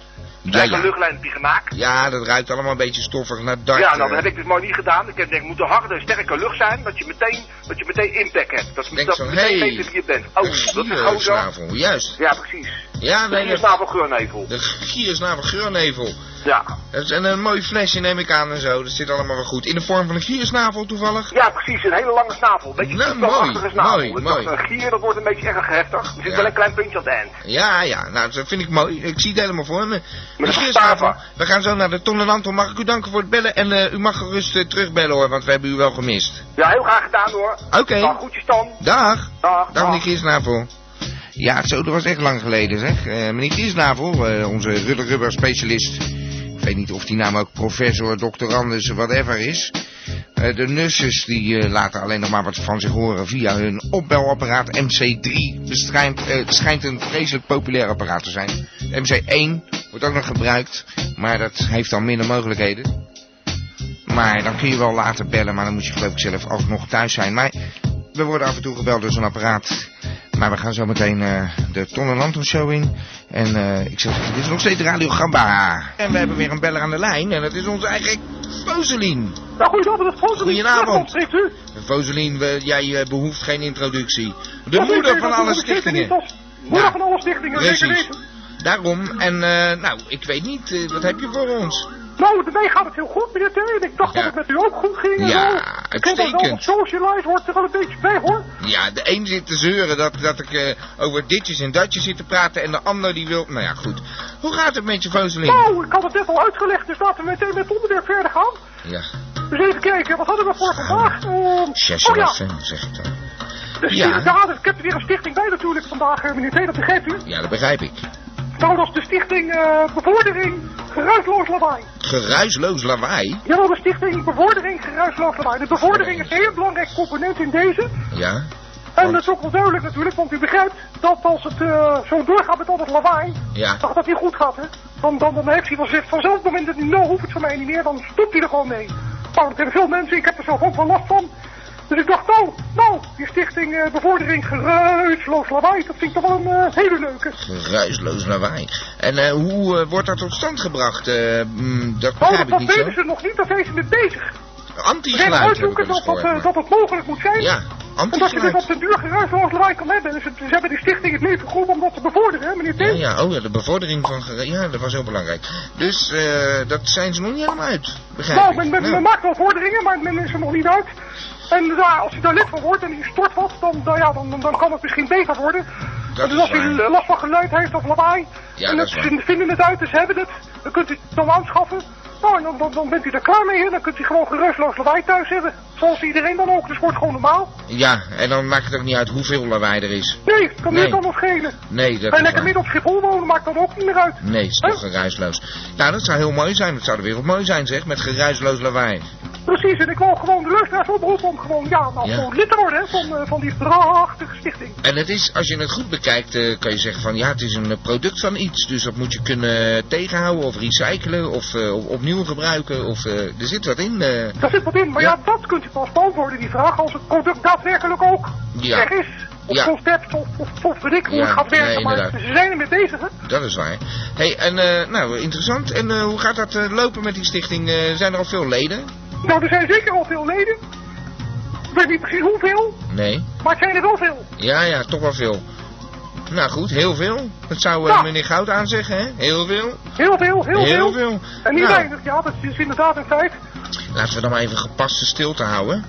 S2: Ja,
S6: Daar heb ik een
S2: ja.
S6: luchtlijn heb die gemaakt.
S2: Ja, dat ruikt allemaal een beetje stoffig naar dart.
S6: Ja, nou, dat
S2: eh.
S6: heb ik dus maar niet gedaan. Ik heb denk, het moet een harde, sterke lucht zijn, dat je meteen, dat je meteen impact hebt. Dat,
S2: Denk
S6: dat
S2: zo,
S6: je
S2: hey,
S6: meteen weten wie je bent. Oh, dat is
S2: Een
S6: een gozer.
S2: snavel, juist.
S6: Ja, precies.
S2: Ja,
S6: De
S2: nee, dat-
S6: giersnavel geurnevel.
S2: de giersnavel geurnevel.
S6: Ja.
S2: Dat is- En een mooi flesje neem ik aan en zo. Dat zit allemaal wel goed. In de vorm van een giersnavel toevallig.
S6: Ja, precies. Een hele lange snavel. Een beetje
S2: Nou,
S6: voetbalachtige
S2: mooi,
S6: snavel.
S2: mooi,
S6: Ik dacht,
S2: mooi.
S6: Een gier, dat wordt een beetje erg heftig. Er zit
S2: Ja.
S6: wel een klein puntje aan het eind.
S2: Ja, ja, nou, dat vind ik mooi. Ik zie het helemaal voor me.
S6: Met een
S2: Giersnavel,
S6: staaf.
S2: we gaan zo naar de Ton en Anton. Mag ik u danken voor het bellen? En eh, u mag gerust eh, terugbellen hoor, want we hebben u wel gemist.
S6: Ja, heel graag gedaan hoor.
S2: Oké,
S6: Nou, goedjes dan.
S2: dag.
S6: Dag.
S2: Dag meneer Kiesnavel. Ja, zo, dat was echt lang geleden zeg. Eh, meneer Kiesnavel, eh, onze Rudder Rubber specialist. Ik weet niet of die naam ook professor, doctorandus, whatever is. Eh, de nurses die eh, laten alleen nog maar wat van zich horen via hun opbelapparaat MC3. Het schijnt, eh, het schijnt een vreselijk populair apparaat te zijn. MC1 wordt ook nog gebruikt, maar dat heeft dan minder mogelijkheden. Maar dan kun je wel later bellen, maar dan moet je geloof ik zelf alsnog thuis zijn. Maar we worden af en toe gebeld door zo'n apparaat. Maar we gaan zo meteen eh, de Ton en Anton Show in. En eh, ik zeg, dit is nog steeds Radio Gamba. En we hebben weer een beller aan de lijn. En dat is onze eigen Foselien.
S8: Nou, goedenavond, dat volgende
S2: Goedenavond.
S8: Spreekt u?
S2: Foselien, we- jij eh, behoeft geen introductie. De
S8: Dat weet
S2: moeder
S8: u,
S2: van
S8: dat
S2: alle
S8: moet ik zeker niet,
S2: stichtingen.
S8: dat- Moeder
S2: Ja.
S8: van alle stichtingen, zeker
S2: Precies.
S8: weten.
S2: Daarom, en eh, nou, ik weet niet, eh, wat heb je voor ons?
S8: Nou, met mij gaat het heel goed, meneer Teun. Ik dacht
S2: Ja.
S8: dat het met u ook goed ging. en
S2: Ja,
S8: zo. Ik vind dat wel
S2: uitstekend.
S8: wat socialize hoort er wel een beetje bij, hoor.
S2: Ja, de een zit te zeuren dat, dat ik eh, over ditjes en datjes zit te praten en de ander die wil... Nou ja, goed. Hoe gaat het met je, Foselien?
S8: Nou, ik had het net al uitgelegd, dus laten we meteen met het onderwerp verder gaan.
S2: Ja,
S8: Dus even kijken, wat hadden we voor vandaag? Ehm,
S2: zes
S8: oh ja,
S2: lessen, zeg ik dan.
S8: de
S2: ja.
S8: Sierdaden. Ik heb er weer een stichting bij natuurlijk vandaag, eh, meneer T, dat begrijpt u.
S2: Ja, dat begrijp ik.
S8: Nou, dat is de stichting eh, Bevordering Geruisloos Lawaai.
S2: Geruisloos lawaai?
S8: Jawel, de stichting Bevordering Geruisloos Lawaai. De bevordering is een heel belangrijk component in deze.
S2: Ja,
S8: En dat is ook wel duidelijk natuurlijk, want u begrijpt dat als het eh, zo doorgaat met al dat lawaai,
S2: ja.
S8: dat dat niet goed gaat, hè. Dan, dan, dan heeft hij wel zegt, vanzelf op het moment dat hij nou hoeft het van mij niet meer, dan stopt hij er gewoon mee. Nou, dat hebben veel mensen, ik heb er zelf ook wel last van. Dus ik dacht, nou, nou, die stichting eh, Bevordering Geruisloos Lawaai, dat vind ik toch wel een eh, hele leuke.
S2: Geruisloos lawaai. En eh, hoe eh, wordt dat tot stand gebracht? Eh, mm, dat
S8: Nou,
S2: begrijp
S8: dat,
S2: ik
S8: dat
S2: niet zo.
S8: weten ze nog niet, daar zijn ze mee bezig. Ze zijn
S2: Anti-geluid heb ik
S8: uitzoeken
S2: wel eens
S8: dat, dat,
S2: gehoord.
S8: eh, dat het mogelijk moet
S2: maar-
S8: zijn.
S2: Ja,
S8: En dat je dus op
S2: anti-geluid.
S8: de duur geruisloos lawaai kan hebben. Dus het- ze hebben die stichting het leven geroepen om dat te bevorderen, hè, meneer
S2: Ja,
S8: Tim?
S2: ja, oh ja, de bevordering van... geru- Ja, dat was heel belangrijk. Dus eh, dat zijn ze nog niet helemaal uit, begrijp
S8: Nou,
S2: ik.
S8: men, men,
S2: Nou.
S8: men maakt wel vorderingen, maar men is er nog niet uit. En ja, als u daar lid van wordt en u stort wat, dan, dan, ja, dan, dan- dan kan het misschien beter worden.
S2: Dat
S8: dus
S2: is
S8: als u
S2: waar.
S8: last van geluid heeft of lawaai,
S2: Ja,
S8: en
S2: dat is
S8: het-
S2: waar.
S8: ze vinden het uit, dus ze hebben het, dan kunt u het dan aanschaffen. Nou, en dan, dan, dan bent u er klaar mee en dan kunt u gewoon gerustloos lawaai thuis hebben. Zoals iedereen dan ook, dus wordt gewoon normaal.
S2: Ja, en dan maakt het ook niet uit hoeveel lawaai er is.
S8: Nee, het kan
S2: Nee.
S8: meer kan nog schelen.
S2: Nee, dat is
S8: en lekker
S2: waar. Mm.
S8: midden op Schiphol wonen maakt dat ook niet meer uit.
S2: Nee, het is toch geruisloos. Nou, dat zou heel mooi zijn. Dat zou de wereld mooi zijn, zeg, met geruisloos lawaai.
S8: Precies, en ik wil gewoon de luisteraars oproepen om gewoon, ja, nou,
S2: Ja.
S8: gewoon lid te worden hè, van, eh, van die prachtige stichting.
S2: En het is, als je het goed bekijkt, eh, kan je zeggen van... Ja, het is een eh, product van iets. Dus dat moet je kunnen tegenhouden of recyclen of eh, op- opnieuw gebruiken. Of, eh, er zit wat in. eh.
S8: Daar zit wat in, maar
S2: Ja.
S8: ja, dat kunt u pas beantwoorden, die vraag, als het product daadwerkelijk ook
S2: Ja.
S8: er is. Of
S2: Ja.
S8: concept, of, of, of weet ik hoe het
S2: Ja,
S8: gaat werken,
S2: nee,
S8: maar
S2: inderdaad.
S8: ze zijn ermee bezig, hè.
S2: dat is waar. hey, en eh, nou, interessant. En eh, hoe gaat dat eh, lopen met die stichting? Eh, zijn er al veel leden?
S8: Nou, er zijn zeker al veel leden. Ik weet niet precies hoeveel,
S2: Nee.
S8: maar het zijn er wel veel.
S2: Ja, ja, toch wel veel. Nou goed, heel veel. Dat zou eh,
S8: Ja.
S2: meneer Goud aanzeggen, hè? Heel veel.
S8: Heel veel, heel,
S2: Heel veel.
S8: En niet
S2: Nou.
S8: weinig, ja, dat is inderdaad een feit.
S2: Laten we dan maar even gepaste stilte houden.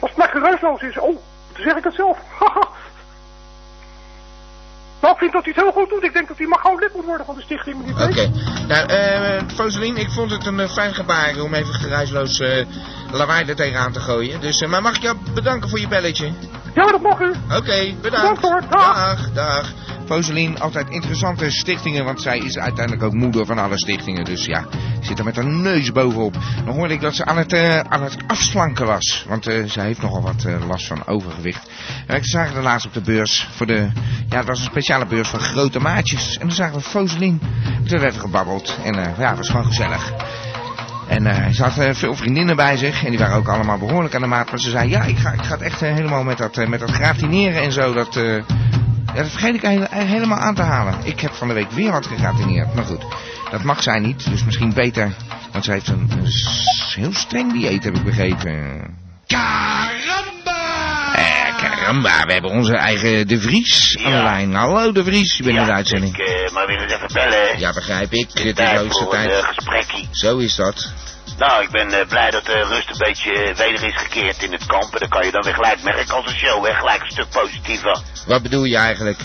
S8: Als het maar geruisloos is, oh, dan zeg ik het zelf. Haha. nou, ik vind dat hij het heel goed doet. Ik denk dat hij maar gauw lid moet worden van de stichting, meneer
S2: Oké.
S8: Peek.
S2: Nou, eh Foselien, ik vond het een eh, fijn gebaar om even geruisloos eh, lawaai er tegenaan te gooien. Dus, eh, maar mag ik jou bedanken voor je belletje?
S8: Ja, dat mag u.
S2: Oké, bedankt.
S8: Bedankt hoor, dag.
S2: Dag, dag. Foselien, altijd interessante stichtingen, want zij is uiteindelijk ook moeder van alle stichtingen. Dus ja, zit er met haar neus bovenop. Dan hoorde ik dat ze aan het, eh, aan het afslanken was, want eh, zij heeft nogal wat eh, last van overgewicht. En ik zag haar laatst op de beurs voor de... Ja, het was een speciale beurs van grote maatjes. En toen zagen we Foselien. Toen werd er gebabbeld en eh, ja, het was gewoon gezellig. En eh, ze had eh, veel vriendinnen bij zich. En die waren ook allemaal behoorlijk aan de maat. Maar ze zei, ja, ik ga, ik ga het echt eh, helemaal met dat, eh, met dat gratineren en zo. Dat, eh, ja, dat vergeet ik hele- eh, helemaal aan te halen. Ik heb van de week weer wat gegratineerd. Maar goed, dat mag zij niet. Dus misschien beter. Want ze heeft een, een s- heel streng dieet, heb ik begrepen. Caramba! Eh, Caramba, we hebben onze eigen De Vries aan de
S9: Ja.
S2: lijn. Hallo De Vries, je bent in de uitzending.
S9: Ik, eh, maar wil het even bellen.
S2: Ja, begrijp ik. Dit is
S9: Tijd
S2: de leukste
S9: voor een eh,
S2: tijd.
S9: gesprekkie.
S2: Zo is dat.
S9: Nou, ik ben eh, blij dat de rust een beetje eh, weder is gekeerd in het kamp. En dan kan je dan weer gelijk merken als een show, hè, gelijk een stuk positiever.
S2: Wat bedoel je eigenlijk?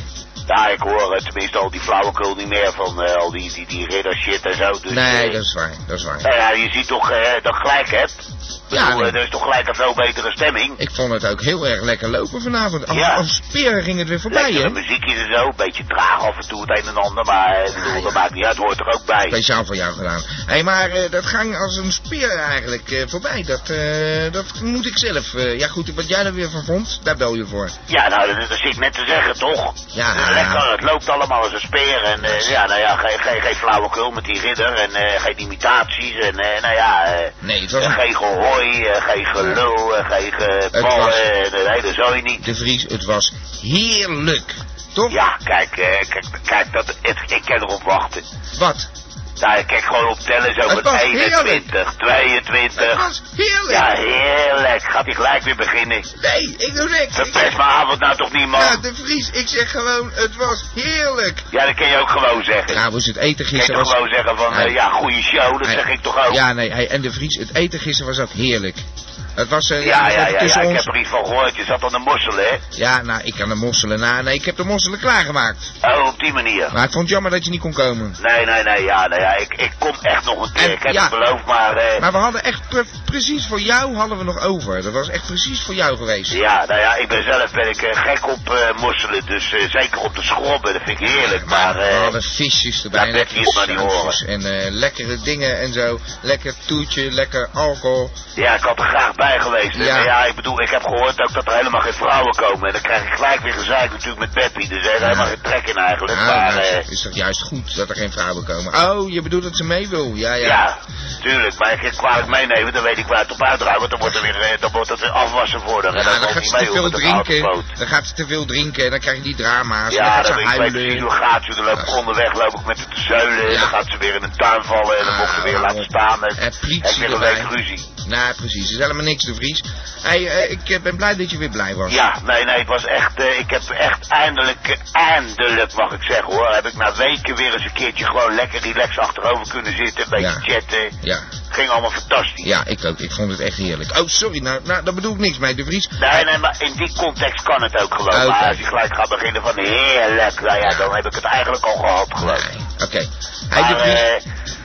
S9: Ja, ik hoor eh, tenminste al die flauwekul niet meer van eh, al die, die, die ridder shit en zo. Dus,
S2: Nee,
S9: eh,
S2: dat is waar. Dat is waar.
S9: Nou ja, eh, je ziet toch eh, dat ik gelijk hebt.
S2: Ja,
S9: Ja,
S2: nee.
S9: er is toch gelijk een veel betere stemming.
S2: Ik vond het ook heel erg lekker lopen vanavond. Als,
S9: Ja.
S2: als speren ging het weer voorbij,
S9: Lekkere
S2: hè?
S9: muziekjes en zo, een beetje traag af en toe het een en ander, maar eh, ik bedoel,
S2: Ja, ja.
S9: dat maakt niet uit, hoort er ook bij.
S2: Speciaal voor jou gedaan. Hé, hey, maar eh, dat ging als een speer eigenlijk eh, voorbij. Dat, eh, dat moet ik zelf. eh, ja goed, wat jij er weer van vond, daar bel je voor.
S9: Ja, nou, dat, dat zit ik net te zeggen, toch?
S2: Ja.
S9: Eh, Lekker, het loopt allemaal als een speer. En eh, ja, nou ja, geen, geen, geen flauwekul met die ridder. En eh, geen imitaties. En eh, nou ja, eh,
S2: Nee, het was
S9: eh, geen gehooi, eh, geen gelul, eh, geen
S2: Het
S9: geballen.
S2: was-
S9: eh, De hele zooi niet.
S2: De Vries, het was heerlijk. Toch?
S9: Ja, kijk, eh, kijk, kijk dat, het, ik kan erop wachten.
S2: Wat?
S9: Nou, ik kijk gewoon op tellen zo
S2: Het
S9: met
S2: was
S9: 21,
S2: Het
S9: 22.
S2: was heerlijk.
S9: Ja, heerlijk. Gaat hij gelijk weer beginnen.
S2: Nee, ik doe niks. Ik
S9: Verpest
S2: zeg,
S9: mijn avond nou toch niet,
S2: ja,
S9: man?
S2: de Vries, ik zeg gewoon, het was heerlijk.
S9: Ja, dat kun je ook gewoon zeggen.
S2: Trouwens, het eten
S9: Ik kan
S2: gisteren
S9: toch
S2: was...
S9: gewoon zeggen van,
S2: Hij-
S9: eh, ja, goede show, dat
S2: Hij-
S9: zeg ik toch ook. Ja,
S2: Ja, nee, hij- en de Vries, het eten gisteren was ook heerlijk. Het was eh,
S9: ja,
S2: even
S9: ja, ja,
S2: tussen
S9: ik
S2: ons.
S9: heb er iets van gehoord, je zat aan de mossel, hè?
S2: Ja, nou, ik kan de mosselen na. Nee, ik heb de mosselen klaargemaakt.
S9: Oh, op die manier.
S2: Maar ik vond het jammer dat je niet kon komen.
S9: Nee, nee, nee, ja, nou ja, ik, ik kom echt nog een keer,
S2: En-
S9: ik heb
S2: ja.
S9: het beloofd, maar, eh,
S2: Maar we hadden echt pre- precies voor jou hadden we nog over. Dat was echt precies voor jou geweest.
S9: ja, nou ja, ik ben zelf ben ik eh, gek op eh, mosselen, dus eh, zeker op de schrobben, dat vind ik heerlijk, maar,
S2: we
S9: eh,
S2: hadden visjes erbij,
S9: dat
S2: lekkere
S9: wil je maar niet
S2: sausjes en eh, lekkere dingen en zo. Lekker toetje, lekker alcohol.
S9: ja, ik had er graag bij geweest. hè.
S2: Ja.
S9: Maar ja, ik bedoel, ik heb gehoord ook dat er helemaal geen vrouwen komen, en dan krijg ik gelijk weer gezeik natuurlijk met Beppie, dus er is helemaal geen trek in eigenlijk,
S2: Nou,
S9: maar,
S2: nou,
S9: eh,
S2: is toch juist goed dat er geen vrouwen komen. Oh, je bedoelt dat ze mee wil? Ja, ja.
S9: Ja, tuurlijk. Maar ik kan het kwalijk meenemen, dan weet ik waar het op uitdraait. Want dan wordt, er weer, eh, dan wordt het weer afwassen voor haar.
S2: Ja,
S9: En dan
S2: dan
S9: komt
S2: gaat
S9: niet
S2: ze
S9: mee
S2: te
S9: hoor,
S2: veel
S9: met een houten
S2: drinken.
S9: boot.
S2: Dan gaat ze te veel drinken en dan krijg je die drama's. en dan
S9: Ja,
S2: gaat ze
S9: dan weet ik weet precies hoe
S2: huilen.
S9: het gaat ze. Dan loop ik
S2: Ja.
S9: onderweg, loop ik met het te zeulen.
S2: Ja.
S9: En dan gaat ze weer in een tuin vallen. En dan mocht ze weer
S2: Ah,
S9: laten staan. En,
S2: en politie
S9: en weer een
S2: erbij.
S9: week ruzie.
S2: Nou, precies. Het is helemaal niks, de Vries. Hey, eh, ik eh, ben blij dat je weer blij was.
S9: Ja, nee, nee, het was echt, eh, ik heb echt eindelijk, eh, eindelijk mag ik zeggen hoor, heb ik na weken weer eens een keertje gewoon lekker relaxed achterover kunnen zitten, een beetje
S2: Ja.
S9: chatten.
S2: Ja,
S9: Ging allemaal fantastisch.
S2: ja, ik ook. Ik vond het echt heerlijk. Oh, sorry. Nou, nou daar bedoel ik niks mee, de Vries.
S9: Nee, nee, maar in die context kan het ook gewoon.
S2: Ah, Oké.
S9: Maar als je gelijk gaat beginnen van heerlijk, nou ja, dan heb ik het eigenlijk al gehad gewoon.
S2: Nee. Oké. Hey, de
S9: Maar
S2: Vries.
S9: eh,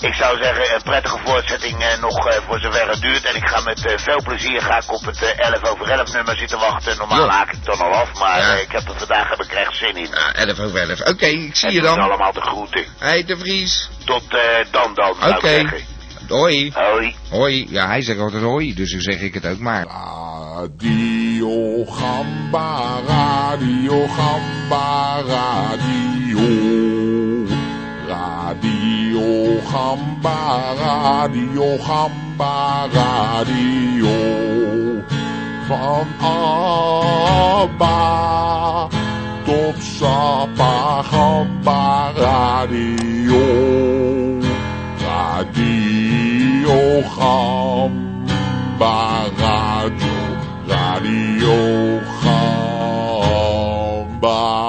S9: ik zou zeggen, een prettige voortzetting eh, nog eh, voor zover het duurt. En ik ga met eh, veel plezier ga ik op het eh, 11 over 11 nummer zitten wachten. Normaal
S2: Ja.
S9: haak ik dan al af, maar
S2: Ja.
S9: eh, ik heb er vandaag heb ik er echt zin in.
S2: Ah, 11 over 11. Oké, ik zie
S9: En
S2: je
S9: doe ze
S2: dan.
S9: allemaal de groeten.
S2: Hey, de Vries.
S9: Tot eh, dan dan, zou
S2: Oké.
S9: ik zeggen.
S2: Hoi.
S9: Hoi.
S2: Hoi. Ja, hij zegt altijd hoi, dus dan zeg ik het ook maar.
S1: Radio Gamba, Radio Gamba, Radio. Radio Gamba, Radio Gamba, Radio. Van Abba tot Sapa Gamba, Radio. Radio Gamba, Radio. Radio Gamba.